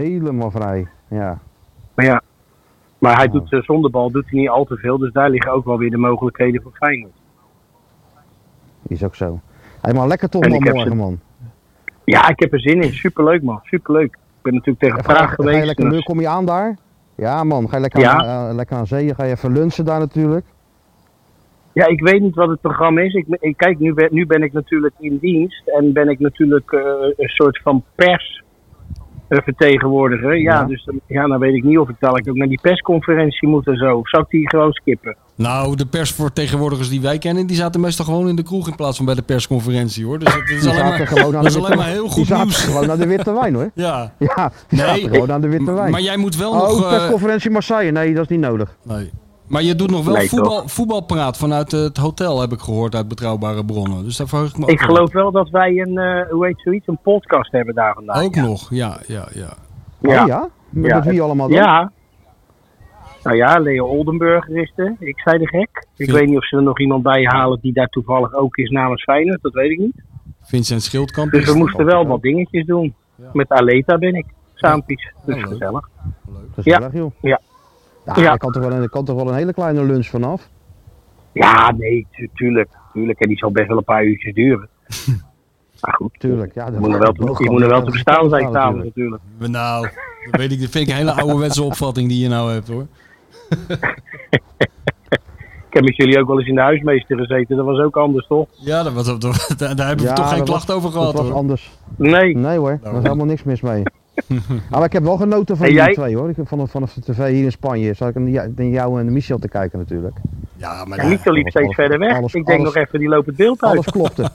S2: Helemaal vrij. Ja.
S5: Maar ja, maar hij doet eh, zonder bal doet hij niet al te veel. Dus daar liggen ook wel weer de mogelijkheden voor Feyenoord.
S2: Is ook zo. Hij maar lekker toch
S5: En
S2: man
S5: ik heb
S2: morgen,
S5: ze-
S2: man.
S5: Ja, ik heb er zin in. Superleuk man, superleuk. Ik ben natuurlijk tegen
S2: Even-
S5: Praag
S2: Ga je
S5: geweest.
S2: lekker
S5: en
S2: leuk, kom je aan daar? Ja, man. Ga je lekker,
S5: Ja.
S2: aan, eh, lekker aan zee. Ga je even lunchen daar natuurlijk.
S5: Ja, ik weet niet wat het programma is. Ik, ik kijk, nu ben, nu ben ik natuurlijk in dienst en ben ik natuurlijk eh, een soort van persvertegenwoordiger. Ja,
S2: Ja.
S5: dus dan- ja, dan weet ik niet of ik dadelijk ook naar die persconferentie moet en zo. Of zou ik die gewoon skippen?
S3: Nou, de persvertegenwoordigers die wij kennen, die zaten meestal gewoon in de kroeg in plaats van bij de persconferentie hoor. Dus dat is
S2: Die
S3: alleen
S2: zaten
S3: maar,
S2: gewoon aan
S3: dat
S2: de
S3: is alleen
S2: witte
S3: maar heel goed
S2: Die zaten
S3: nieuws.
S2: gewoon aan de witte wijn hoor.
S3: Ja.
S2: Ja, die
S3: Nee,
S2: zaten gewoon aan de witte wijn.
S3: Maar jij moet wel
S2: oh,
S3: nog... eh,
S2: persconferentie Marseille. Nee, dat is niet nodig.
S3: nee. Maar je doet nog wel
S5: Nee,
S3: voetbal, voetbalpraat vanuit eh, het hotel, heb ik gehoord uit betrouwbare bronnen. Dus daar verheug ik me ook
S5: Ik
S3: op.
S5: geloof wel dat wij een, eh, hoe heet zoiets, een podcast hebben daar vandaag.
S3: Ook nog, ja, ja, ja.
S2: Ja. Oh, ja? Met
S5: Ja,
S2: met wie allemaal dan?
S5: Ja. Nou ja, Leo Oldenburger is er. Ik zei de gek. Ik
S3: Vind-
S5: weet niet of ze er nog iemand bij halen die daar toevallig ook is namens Feyenoord. Dat weet ik niet.
S3: Vincent Schildkamp
S5: Dus
S3: is
S5: we moesten wel wat dingetjes doen. Met Aleta ben ik. Saampies. Dus
S3: Ja, leuk.
S5: gezellig.
S2: Gezellig, joh.
S5: Ja.
S2: Ja,
S5: Ja.
S2: Er, kan toch wel een, er kan toch wel een hele kleine lunch vanaf?
S5: Ja, nee, tu- tuurlijk. Tuurlijk. En die zal best wel een paar uurtjes duren. Maar goed.
S2: Tuurlijk. Ja,
S5: Je moet er wel te, je moet er wel te verstaan zijn s'avonds natuurlijk.
S3: Nou, dat, weet ik, dat vind ik een hele ouderwetse opvatting die je nou hebt hoor.
S5: Ik heb met jullie ook wel eens in de huismeester gezeten. Dat was ook anders, toch?
S3: Ja, dat, was- dat, dat- daar, daar hebben we toch geen klacht over gehad
S2: Dat was
S3: hoor. Nou.
S2: anders.
S5: Nee.
S2: Nee hoor, daar was helemaal niks mis mee. maar ik heb wel genoten van
S5: En
S2: die
S5: jij?
S2: twee hoor. Ik heb vanaf, vanaf de tv hier in Spanje zat ik aan die- aan jou en Michel te kijken natuurlijk.
S3: Ja, maar
S5: Ja,
S3: daar-
S5: Michel liep
S2: alles-
S5: steeds verder weg.
S2: alles-
S5: ik denk
S2: alles-
S5: nog even, die loopt het beeld uit.
S2: Alles klopte.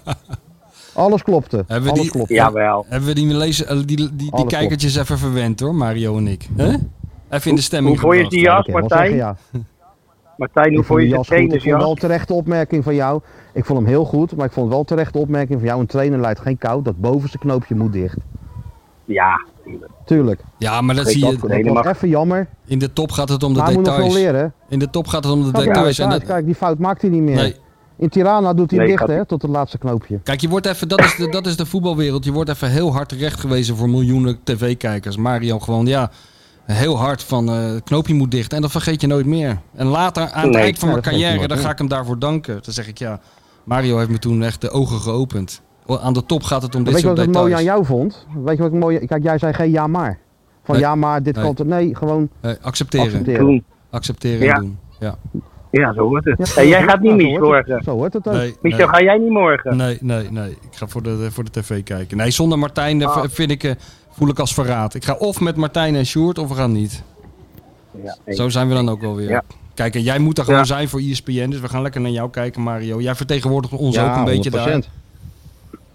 S2: Alles klopte.
S3: Hebben we
S2: Alles
S3: die-
S2: klopte.
S5: Jawel.
S3: hebben we die, lezer- eh, die, die, die,
S2: Alles
S3: kijkertjes even verwend hoor, Mario en ik. hè? Even in de stemming
S5: Hoe vond je
S3: gebracht.
S5: die jas,
S2: Ik kan wel
S5: Martijn?
S2: zeggen, ja.
S5: Martijn, hoe
S2: Ik vond
S5: vond
S2: die
S5: je zijn
S2: jas goed. Ik vond wel
S5: trainersjas?
S2: een terechte opmerking van jou. Ik vond hem heel goed, maar ik vond wel een terechte opmerking van jou. Een trainer leidt geen koud, dat bovenste knoopje moet dicht.
S5: Ja, tuurlijk.
S2: Tuurlijk.
S3: Ja, maar dat
S5: Ik
S3: zie
S5: dat
S3: je.
S5: Nee,
S2: Dat
S5: dat
S2: was
S5: mag-
S2: even jammer.
S3: In de top gaat het om de
S2: Maar hij moet nog wel
S3: details.
S2: leren.
S3: In de top gaat het om de
S2: Ja,
S3: details. en
S2: thuis,
S3: dat-
S2: kijk, die fout maakt hij niet meer.
S3: nee.
S2: In Tirana doet hij
S5: Nee,
S2: dicht,
S5: gaat
S2: hè,
S5: hij-
S2: tot het laatste knoopje.
S3: Kijk, je wordt even, dat, is de, dat is de voetbalwereld. Je wordt even heel hard terechtgewezen voor miljoenen tv-kijkers. Mario gewoon, ja, heel hard van eh, het knoopje moet dicht. En dat vergeet je nooit meer. En later, aan het
S5: Nee,
S3: eind van
S2: ja, dat vergeet
S3: mijn
S2: je
S3: carrière,
S2: nooit
S3: dan
S2: meer.
S3: ga ik hem daarvoor danken. Dan zeg ik, ja, Mario heeft me toen echt de ogen geopend. O, Aan de top gaat het om dit
S2: Weet je
S3: soort
S2: wat ik
S3: details.
S2: mooi aan jou vond? Weet je wat ik mooi... Kijk, jij zei geen ja maar. Van
S3: Nee.
S2: ja maar, dit
S3: Nee.
S2: kan toch... Nee, gewoon
S3: Eh, accepteren.
S2: accepteren.
S5: Toen.
S3: Accepteren
S5: Ja.
S3: en doen. Ja.
S5: Ja, zo hoort het.
S2: Ja,
S5: En
S2: zo
S5: jij
S2: hoort
S5: gaat
S2: het.
S5: niet
S2: Ja, zo
S5: mis
S2: hoort het.
S5: morgen.
S2: Zo hoort het ook.
S3: Nee, nee.
S5: Michel, ga jij niet morgen?
S3: Nee, nee, nee. Ik ga voor de, voor de tv kijken. Nee, zonder Martijn
S5: Ah.
S3: eh, v- vind ik, eh, voel ik als verraad. Ik ga of met Martijn en Sjoerd of we gaan niet.
S5: Ja, nee.
S3: Zo zijn we dan ook alweer.
S5: Ja.
S3: Kijk, en jij moet daar gewoon
S5: Ja.
S3: zijn voor ESPN. Dus we gaan lekker naar jou kijken, Mario. Jij vertegenwoordigt ons ook een beetje daar.
S2: 100%.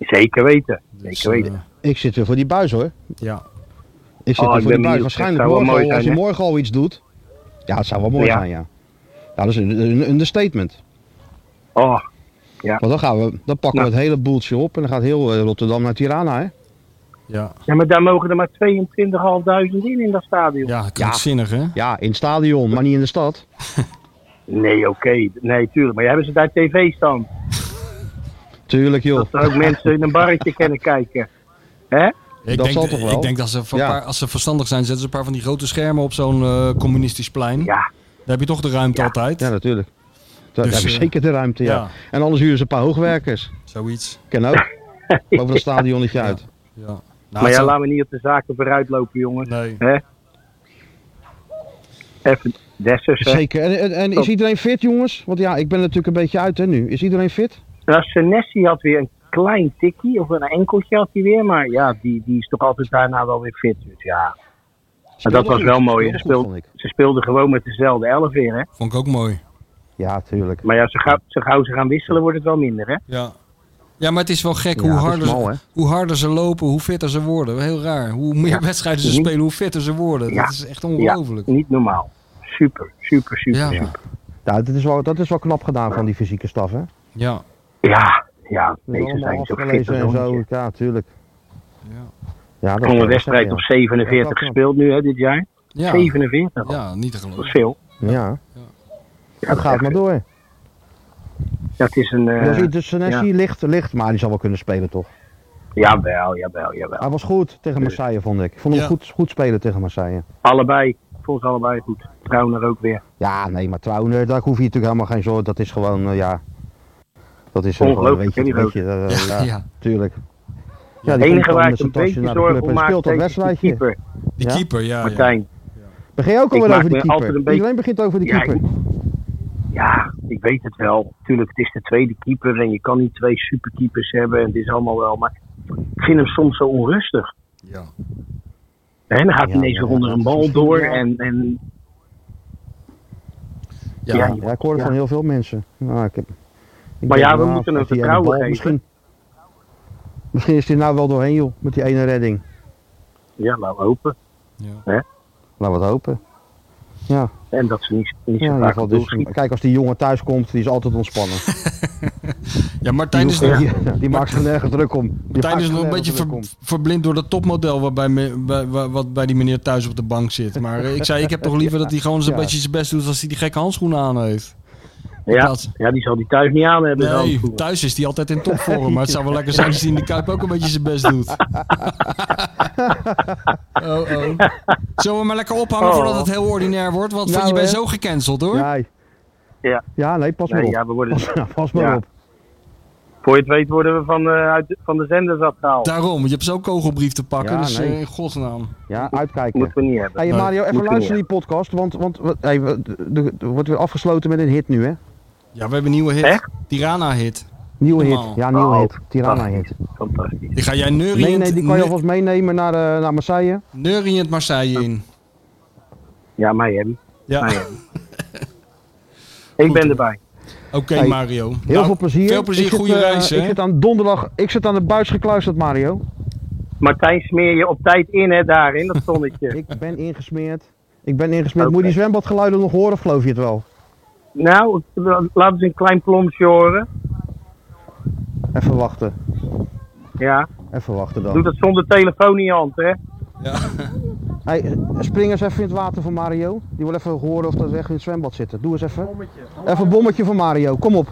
S5: Zeker weten.
S3: Dus,
S5: Zeker weten.
S3: eh,
S2: Ik zit weer voor die buis hoor. Ik zit
S3: ja.
S5: Oh,
S2: weer
S5: ik
S2: voor die
S5: ben
S2: buis.
S5: benieuwd.
S2: Waarschijnlijk
S5: Het zou
S2: morgen
S5: wel mooi
S2: al, als je
S5: zijn, hè?
S2: morgen al iets doet. Ja, het zou wel mooi
S5: Ja.
S2: zijn, ja. Ja, dat is een, een understatement.
S5: Oh,
S2: Want dan, gaan we, dan pakken
S5: Nou.
S2: we het hele boeltje op en dan gaat heel eh, Rotterdam naar Tirana, hè?
S3: Ja.
S5: ja, maar daar mogen er maar 22.500 in in dat stadion.
S3: ja, krankzinnig hè?
S2: Ja, in het stadion, maar niet in de stad.
S5: Nee, oké. Nee, tuurlijk. Maar jij hebben ze daar tv's dan?
S2: Tuurlijk, joh.
S5: Dat er ook mensen in een barretje kunnen kijken. Hè?
S3: Ik,
S2: Dat
S3: denk,
S2: zal toch wel?
S3: ik denk dat ze, voor een
S2: Ja.
S3: paar, als ze verstandig zijn, zetten ze een paar van die grote schermen op zo'n eh, communistisch plein.
S5: Ja.
S3: Daar heb je toch de ruimte
S5: Ja.
S3: altijd.
S2: Ja, natuurlijk. Daar
S3: Dus,
S2: hebben we
S3: eh,
S2: zeker de ruimte, ja.
S3: ja.
S2: En anders huren ze een paar hoogwerkers.
S3: Zoiets.
S2: Ken ook. Boven dat stadionnetje uit.
S3: Ja. Nou,
S5: Maar
S3: het
S5: ja,
S3: zou-
S5: laten we niet op de zaken vooruit lopen, jongens.
S3: Nee.
S5: Hè?
S6: even Dessers. hè.
S2: Zeker. En, en, en is
S6: Klopt.
S2: iedereen fit, jongens? Want ja, ik ben natuurlijk een beetje uit hè, nu. Is iedereen fit?
S6: Nou, Senesi had weer een klein tikkie, of een enkeltje had hij weer. Maar ja, die, die is toch altijd daarna wel weer fit. Dus ja, maar dat
S2: Speelde
S6: was
S2: goed.
S6: wel mooi. hè. Ze
S2: Speelde goed,
S6: speelden,
S2: vond ik.
S6: ze speelden gewoon met dezelfde elf weer, hè.
S3: Vond ik ook mooi.
S2: Ja, tuurlijk.
S6: Maar ja, zo gauw, zo gauw ze gaan wisselen wordt het wel minder, hè.
S3: Ja. Ja, maar het is wel gek
S2: Ja,
S3: hoe,
S2: het is
S3: harder
S2: mal, hè?
S3: ze, hoe harder ze lopen, hoe fitter ze worden. Heel raar. Hoe meer wedstrijden ze
S6: Mhm.
S3: spelen, hoe fitter ze worden.
S6: Ja.
S3: Dat is echt ongelooflijk.
S6: Ja, niet normaal. Super, super, super,
S3: Ja.
S6: super.
S2: Nou, dat is, wel, dat is wel knap gedaan van die fysieke staf, hè?
S3: Ja.
S6: Ja, ja, meestal
S2: Allemaal
S6: zijn zo fit
S2: afgelezen en
S6: als
S2: zo.
S6: zo.
S2: Ja, tuurlijk.
S3: Ja.
S2: Ja, dat
S6: Zonder
S2: is-
S6: wedstrijd
S2: ja.
S6: op 47
S2: Ja.
S6: gespeeld nu, hè, dit jaar.
S3: Ja.
S6: 47, al.
S3: ja, niet te
S6: dat is
S3: geloven.
S6: veel.
S2: Ja,
S6: Ja,
S2: het
S6: dat
S2: gaat
S6: is
S2: maar
S6: echt-
S2: door.
S6: Ja, het is een... eh,
S2: Dus, dus Senesi ligt, ligt, maar die zal wel kunnen spelen, toch?
S6: jawel, jawel, jawel.
S2: Hij was goed tegen Marseille, vond ik. Ik vond hem
S3: Ja.
S2: goed, goed spelen tegen Marseille.
S6: Allebei, volgens allebei goed. Trouwner ook weer.
S2: Ja, nee, maar Trouwner, daar hoef je natuurlijk helemaal geen zorgen. Dat is gewoon, eh, ja... Dat is eh, gewoon,
S6: Ongelooflijk,
S2: weet je,
S6: hè, die
S2: weet je eh, ja,
S3: Ja. ja.
S2: tuurlijk. Ja,
S6: Het
S2: die komt
S6: enige
S2: dan met
S6: waar ik
S2: zijn
S6: een
S2: tasje
S6: beetje
S2: naar de
S6: zorgen
S2: club en
S6: om maak
S2: speelt dat
S6: tegen is die
S2: wedstrijdje.
S6: keeper,
S3: Die
S2: Ja?
S3: keeper, Oh, ja. ja.
S6: Martijn.
S2: Begin je ook
S6: Ik
S2: alweer
S6: maak
S2: over die
S6: me
S2: keeper?
S6: altijd een beetje-
S2: Iedereen begint over die
S6: Ja,
S2: keeper.
S6: Ja, ik weet het wel. Tuurlijk, het is de tweede keeper en je kan niet twee superkeepers hebben. En het is allemaal wel, maar ik vind hem soms zo onrustig.
S3: Ja.
S6: Hè, dan gaat
S2: Ja,
S6: hij ineens
S2: ja,
S6: weer onder
S2: dat
S6: een
S2: is
S6: bal
S2: misschien
S6: door
S2: wel.
S6: en, en
S3: Ja.
S6: Ja.
S2: Ja, ja, ik hoor het
S6: Ja.
S2: van heel veel mensen. Nou, ik heb, ik
S6: Maar ja,
S2: denk,
S6: we
S2: nou,
S6: moeten hem
S2: met die ene
S6: vertrouwen
S2: bal
S6: geven.
S2: Misschien, misschien is hij nou wel doorheen, joh, met die ene redding.
S6: ja, laten we hopen.
S2: Laten we het hopen.
S6: En dat ze niet, niet
S2: Ja, in
S6: zo
S2: ieder
S6: vaak
S2: geval
S6: op
S2: dus-
S6: doel schieten.
S2: kijk, als die jongen thuis komt, die is altijd ontspannen.
S3: Ja, Martijn is,
S2: die, eh,
S3: nog-
S2: die, die maakt zich nergens druk om. Die eh,
S3: Martijn
S2: maakt
S3: is
S2: zich
S3: nog een
S2: nergens
S3: beetje
S2: druk
S3: ver-
S2: om.
S3: verblind door dat topmodel waarbij me- bij- wa- wat bij die meneer thuis op de bank zit. Maar eh, ik zei, ik heb toch liever dat hij gewoon zo'n
S2: Ja.
S3: beetje zijn best doet als hij die gekke handschoenen aan heeft. In
S6: Ja,
S3: plaats-
S6: ja, die zal die thuis niet aan hebben. zo.
S3: Nee, thuis is hij altijd in topvorm. Maar het zou wel lekker zijn als hij in de Kuip ook een beetje zijn best doet. oh, oh. Zullen we maar lekker ophangen
S6: Oh.
S3: voordat het heel ordinair wordt? Want
S2: Nou,
S3: je bent
S2: hè.
S3: zo gecanceld hoor.
S2: Ja,
S6: Ja.
S2: ja, nee, pas maar
S6: Nee,
S2: op.
S6: ja, we worden,
S2: Pas, nou, pas maar
S6: Ja.
S2: op.
S6: voor je het weet worden we van, eh, uit, van de zenders afgehaald.
S3: Daarom, je hebt zo'n kogelbrief te pakken.
S2: Ja,
S3: dus eh,
S2: nee.
S3: in godsnaam.
S2: Ja, uitkijken.
S6: Moeten we niet hebben.
S2: hey,
S3: Nee,
S2: Mario, even
S6: moeten we
S2: luister
S6: niet
S2: die podcast, want, want we- hey, we- de- de- er wordt weer afgesloten met een hit nu, hè?
S3: Ja, we hebben een nieuwe hit.
S6: Echt?
S3: Tirana-hit.
S2: Nieuwe
S3: Normaal.
S2: hit. Ja, nieuwe
S6: Oh.
S2: hit. Tirana-hit.
S6: Fantastisch.
S3: Die ga jij neuriënd,
S2: Nee, nee, die kan je
S3: ne-
S2: alvast meenemen naar, eh, naar Marseille.
S3: neuriënd Marseille in.
S6: Ja, mij hebben.
S3: Ja,
S6: mij
S3: oké
S6: hebben. Ik ben erbij.
S2: Hey,
S3: Mario.
S2: Heel
S3: Nou,
S2: veel plezier.
S3: Veel plezier,
S2: Ik zit,
S3: goede
S2: eh,
S3: reis hè.
S2: Ik zit aan donderdag, ik zit aan de buis gekluisterd, Mario.
S6: Martijn, smeer je op tijd in, hè, daar in dat zonnetje.
S2: Ik ben ingesmeerd. Ik ben ingesmeerd.
S6: Oké.
S2: Moet je die zwembadgeluiden nog horen of geloof je het wel?
S6: Nou, laten ze een klein plonsje horen.
S2: Even wachten.
S6: Ja,
S2: Even wachten
S6: doe
S2: dan.
S6: dat zonder telefoon in je hand, hè.
S2: Hey, spring eens even in het water voor Mario. Die wil even horen of dat weg in het zwembad zitten. Doe eens even. Even een bommetje voor Mario. Kom op.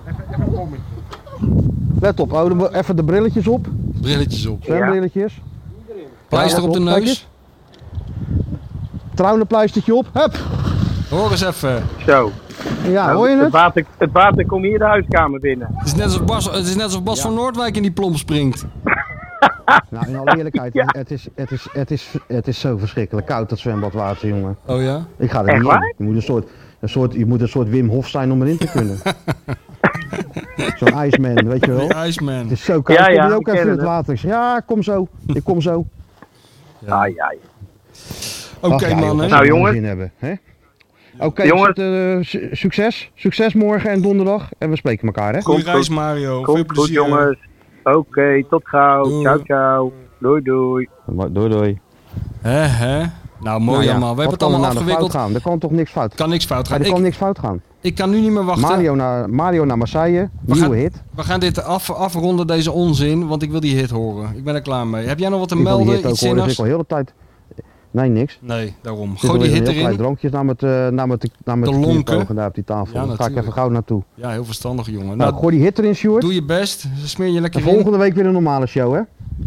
S2: Let op. Hou de- even de brilletjes op.
S3: Brilletjes op.
S2: Zwembrilletjes.
S3: Pleister op de
S2: Kijk
S3: neus.
S2: eens. Trouwende pleistertje op. Hup.
S3: Hoor eens even.
S6: Zo.
S2: Ja, hoor je
S6: het,
S2: het?
S6: water, het water komt hier de huiskamer binnen.
S3: Het is net alsof Bas, het is net alsof Bas van Noordwijk in die plomp springt.
S2: Nou, in alle eerlijkheid, het, is, het, is, het, is, het is zo verschrikkelijk koud, dat zwembadwater, jongen.
S3: Oh ja?
S2: Ik ga er
S6: Echt
S2: niet
S6: waar?
S2: in. Je moet een soort, een soort, je moet een soort Wim Hof zijn om erin te kunnen. Zo'n ijsman, weet je wel.
S3: Die
S2: Het
S3: Iceman.
S2: is zo koud,
S6: Ja,
S2: ja,
S6: ja,
S2: je
S6: ik
S2: ook
S6: ken
S2: even in het
S6: het.
S2: water. Ik zeg, ja, kom zo. Ik kom zo.
S6: Ja, ja, ja.
S3: Oké
S2: Ach, ja, joh,
S3: man,
S2: als
S3: hè?
S2: we
S6: Nou,
S2: er
S6: jongens.
S2: zin hebben, hè? Oké,
S6: Jongens.
S2: zet, eh, su- succes. Succes morgen en donderdag. En we spreken elkaar, hè?
S3: Goeie
S6: Komt
S3: reis
S6: goed.
S3: Mario. Veel
S6: Komt
S3: plezier.
S6: goed, jongens. Oké, tot gauw.
S3: Doei.
S6: Ciao, ciao. Doei, doei.
S2: Doei, doei.
S3: Hè, hè? Nou, mooi allemaal. We hebben het allemaal afgewikkeld.
S2: gaan? Er kan toch niks fout gaan?
S3: Kan niks fout gaan.
S2: Er
S3: Ik,
S2: kan niks fout gaan.
S3: ik kan nu niet meer wachten.
S2: Mario naar, Mario naar Marseille. Nieuwe
S3: gaan-
S2: hit.
S3: We gaan dit af, afronden, deze onzin, want ik wil die hit horen. Ik ben er klaar mee. Heb jij nog wat te
S2: Ik wil die
S3: melden?
S2: hit ook
S3: Iets
S2: horen, dus
S3: zinnigs?
S2: ik wil heel de tijd... Nee, niks.
S3: Nee, daarom.
S2: Ik
S3: Gooi die hit
S2: heel klein
S3: erin.
S2: drankjes naar met, eh naar met, de- naar met
S3: Te
S2: de
S3: lonken.
S2: knierpogen daar op die tafel.
S3: Ja,
S2: Daar ga ik
S3: natuurlijk.
S2: even gauw naartoe.
S3: Ja, heel verstandig jongen.
S2: Nou,
S3: Nou,
S2: gooi die hit erin, Sjoerd.
S3: doe je best. Smeer je
S2: En
S3: lekker in.
S2: volgende week weer een normale show, hè?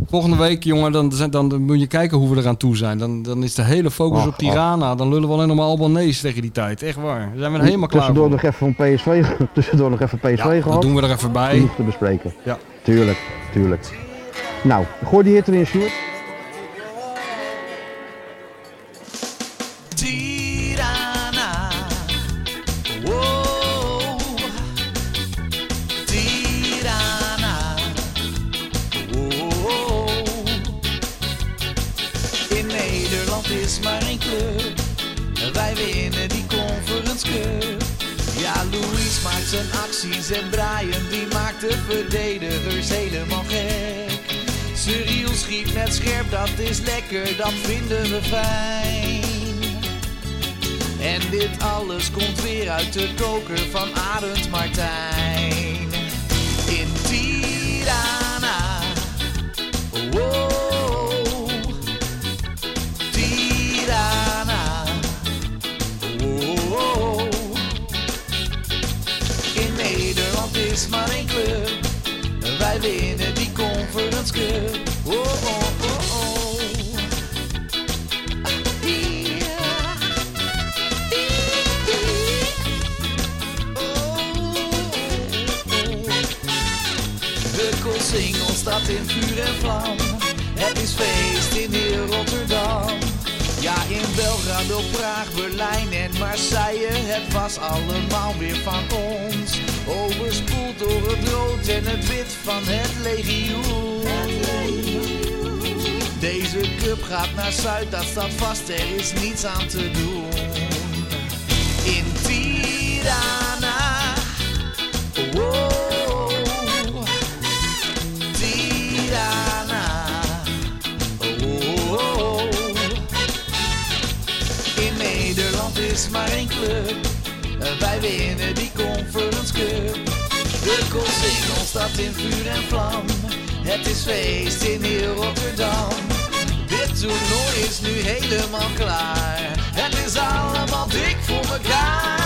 S3: Volgende week, jongen, dan, zijn- dan moet je kijken hoe we eraan toe zijn. Dan, dan is de hele focus
S2: Ach,
S3: op Tirana. Dan lullen we alleen nog maar Albanese tegen die tijd. Echt waar. Dan zijn we er helemaal klaar
S2: Tussendoor
S3: voor.
S2: nog even van PSV, ge- tussendoor nog even PSV
S3: Ja, dat
S2: gehad. Mm.
S3: doen we er even bij.
S2: Genoeg te bespreken.
S3: Ja.
S2: Tuurlijk, tuurlijk. Nou, gooi die hit erin, Sjoerd.
S1: Tirana. in Nederland is maar één club. En Wij winnen die Conference Cup. Ja, Louis maakt zijn acties en Brian die maakt de verdedigers helemaal gek. Cyril schiet met scherp, dat is lekker, dat vinden we fijn. En dit alles komt weer uit de koker van Arend Martijn. In Tirana. Wow. Tirana. Wow. In Nederland is maar één club. Wij winnen die Conference Cup. Oh, oh, oh, oh. Ah, yeah. De Koolsingel staat in vuur en vlam. Het is feest in heel Rotterdam. Ja, in Belgrado, Praag, Berlijn en Marseille. Het was allemaal weer van ons. Overspoeld door het rood en het wit van het legioen. Deze cup gaat naar Zuid, dat staat vast. Er is niets aan te doen in Tirana. Oh, Wow, Tirana. Wow. In Nederland is maar één club. Wij winnen die Conference Cup. De Koolsingel staat in vuur en vlam. Het is feest in heel Rotterdam. Dit toernooi is nu helemaal klaar. Het is allemaal dik voor elkaar. Oh, oh.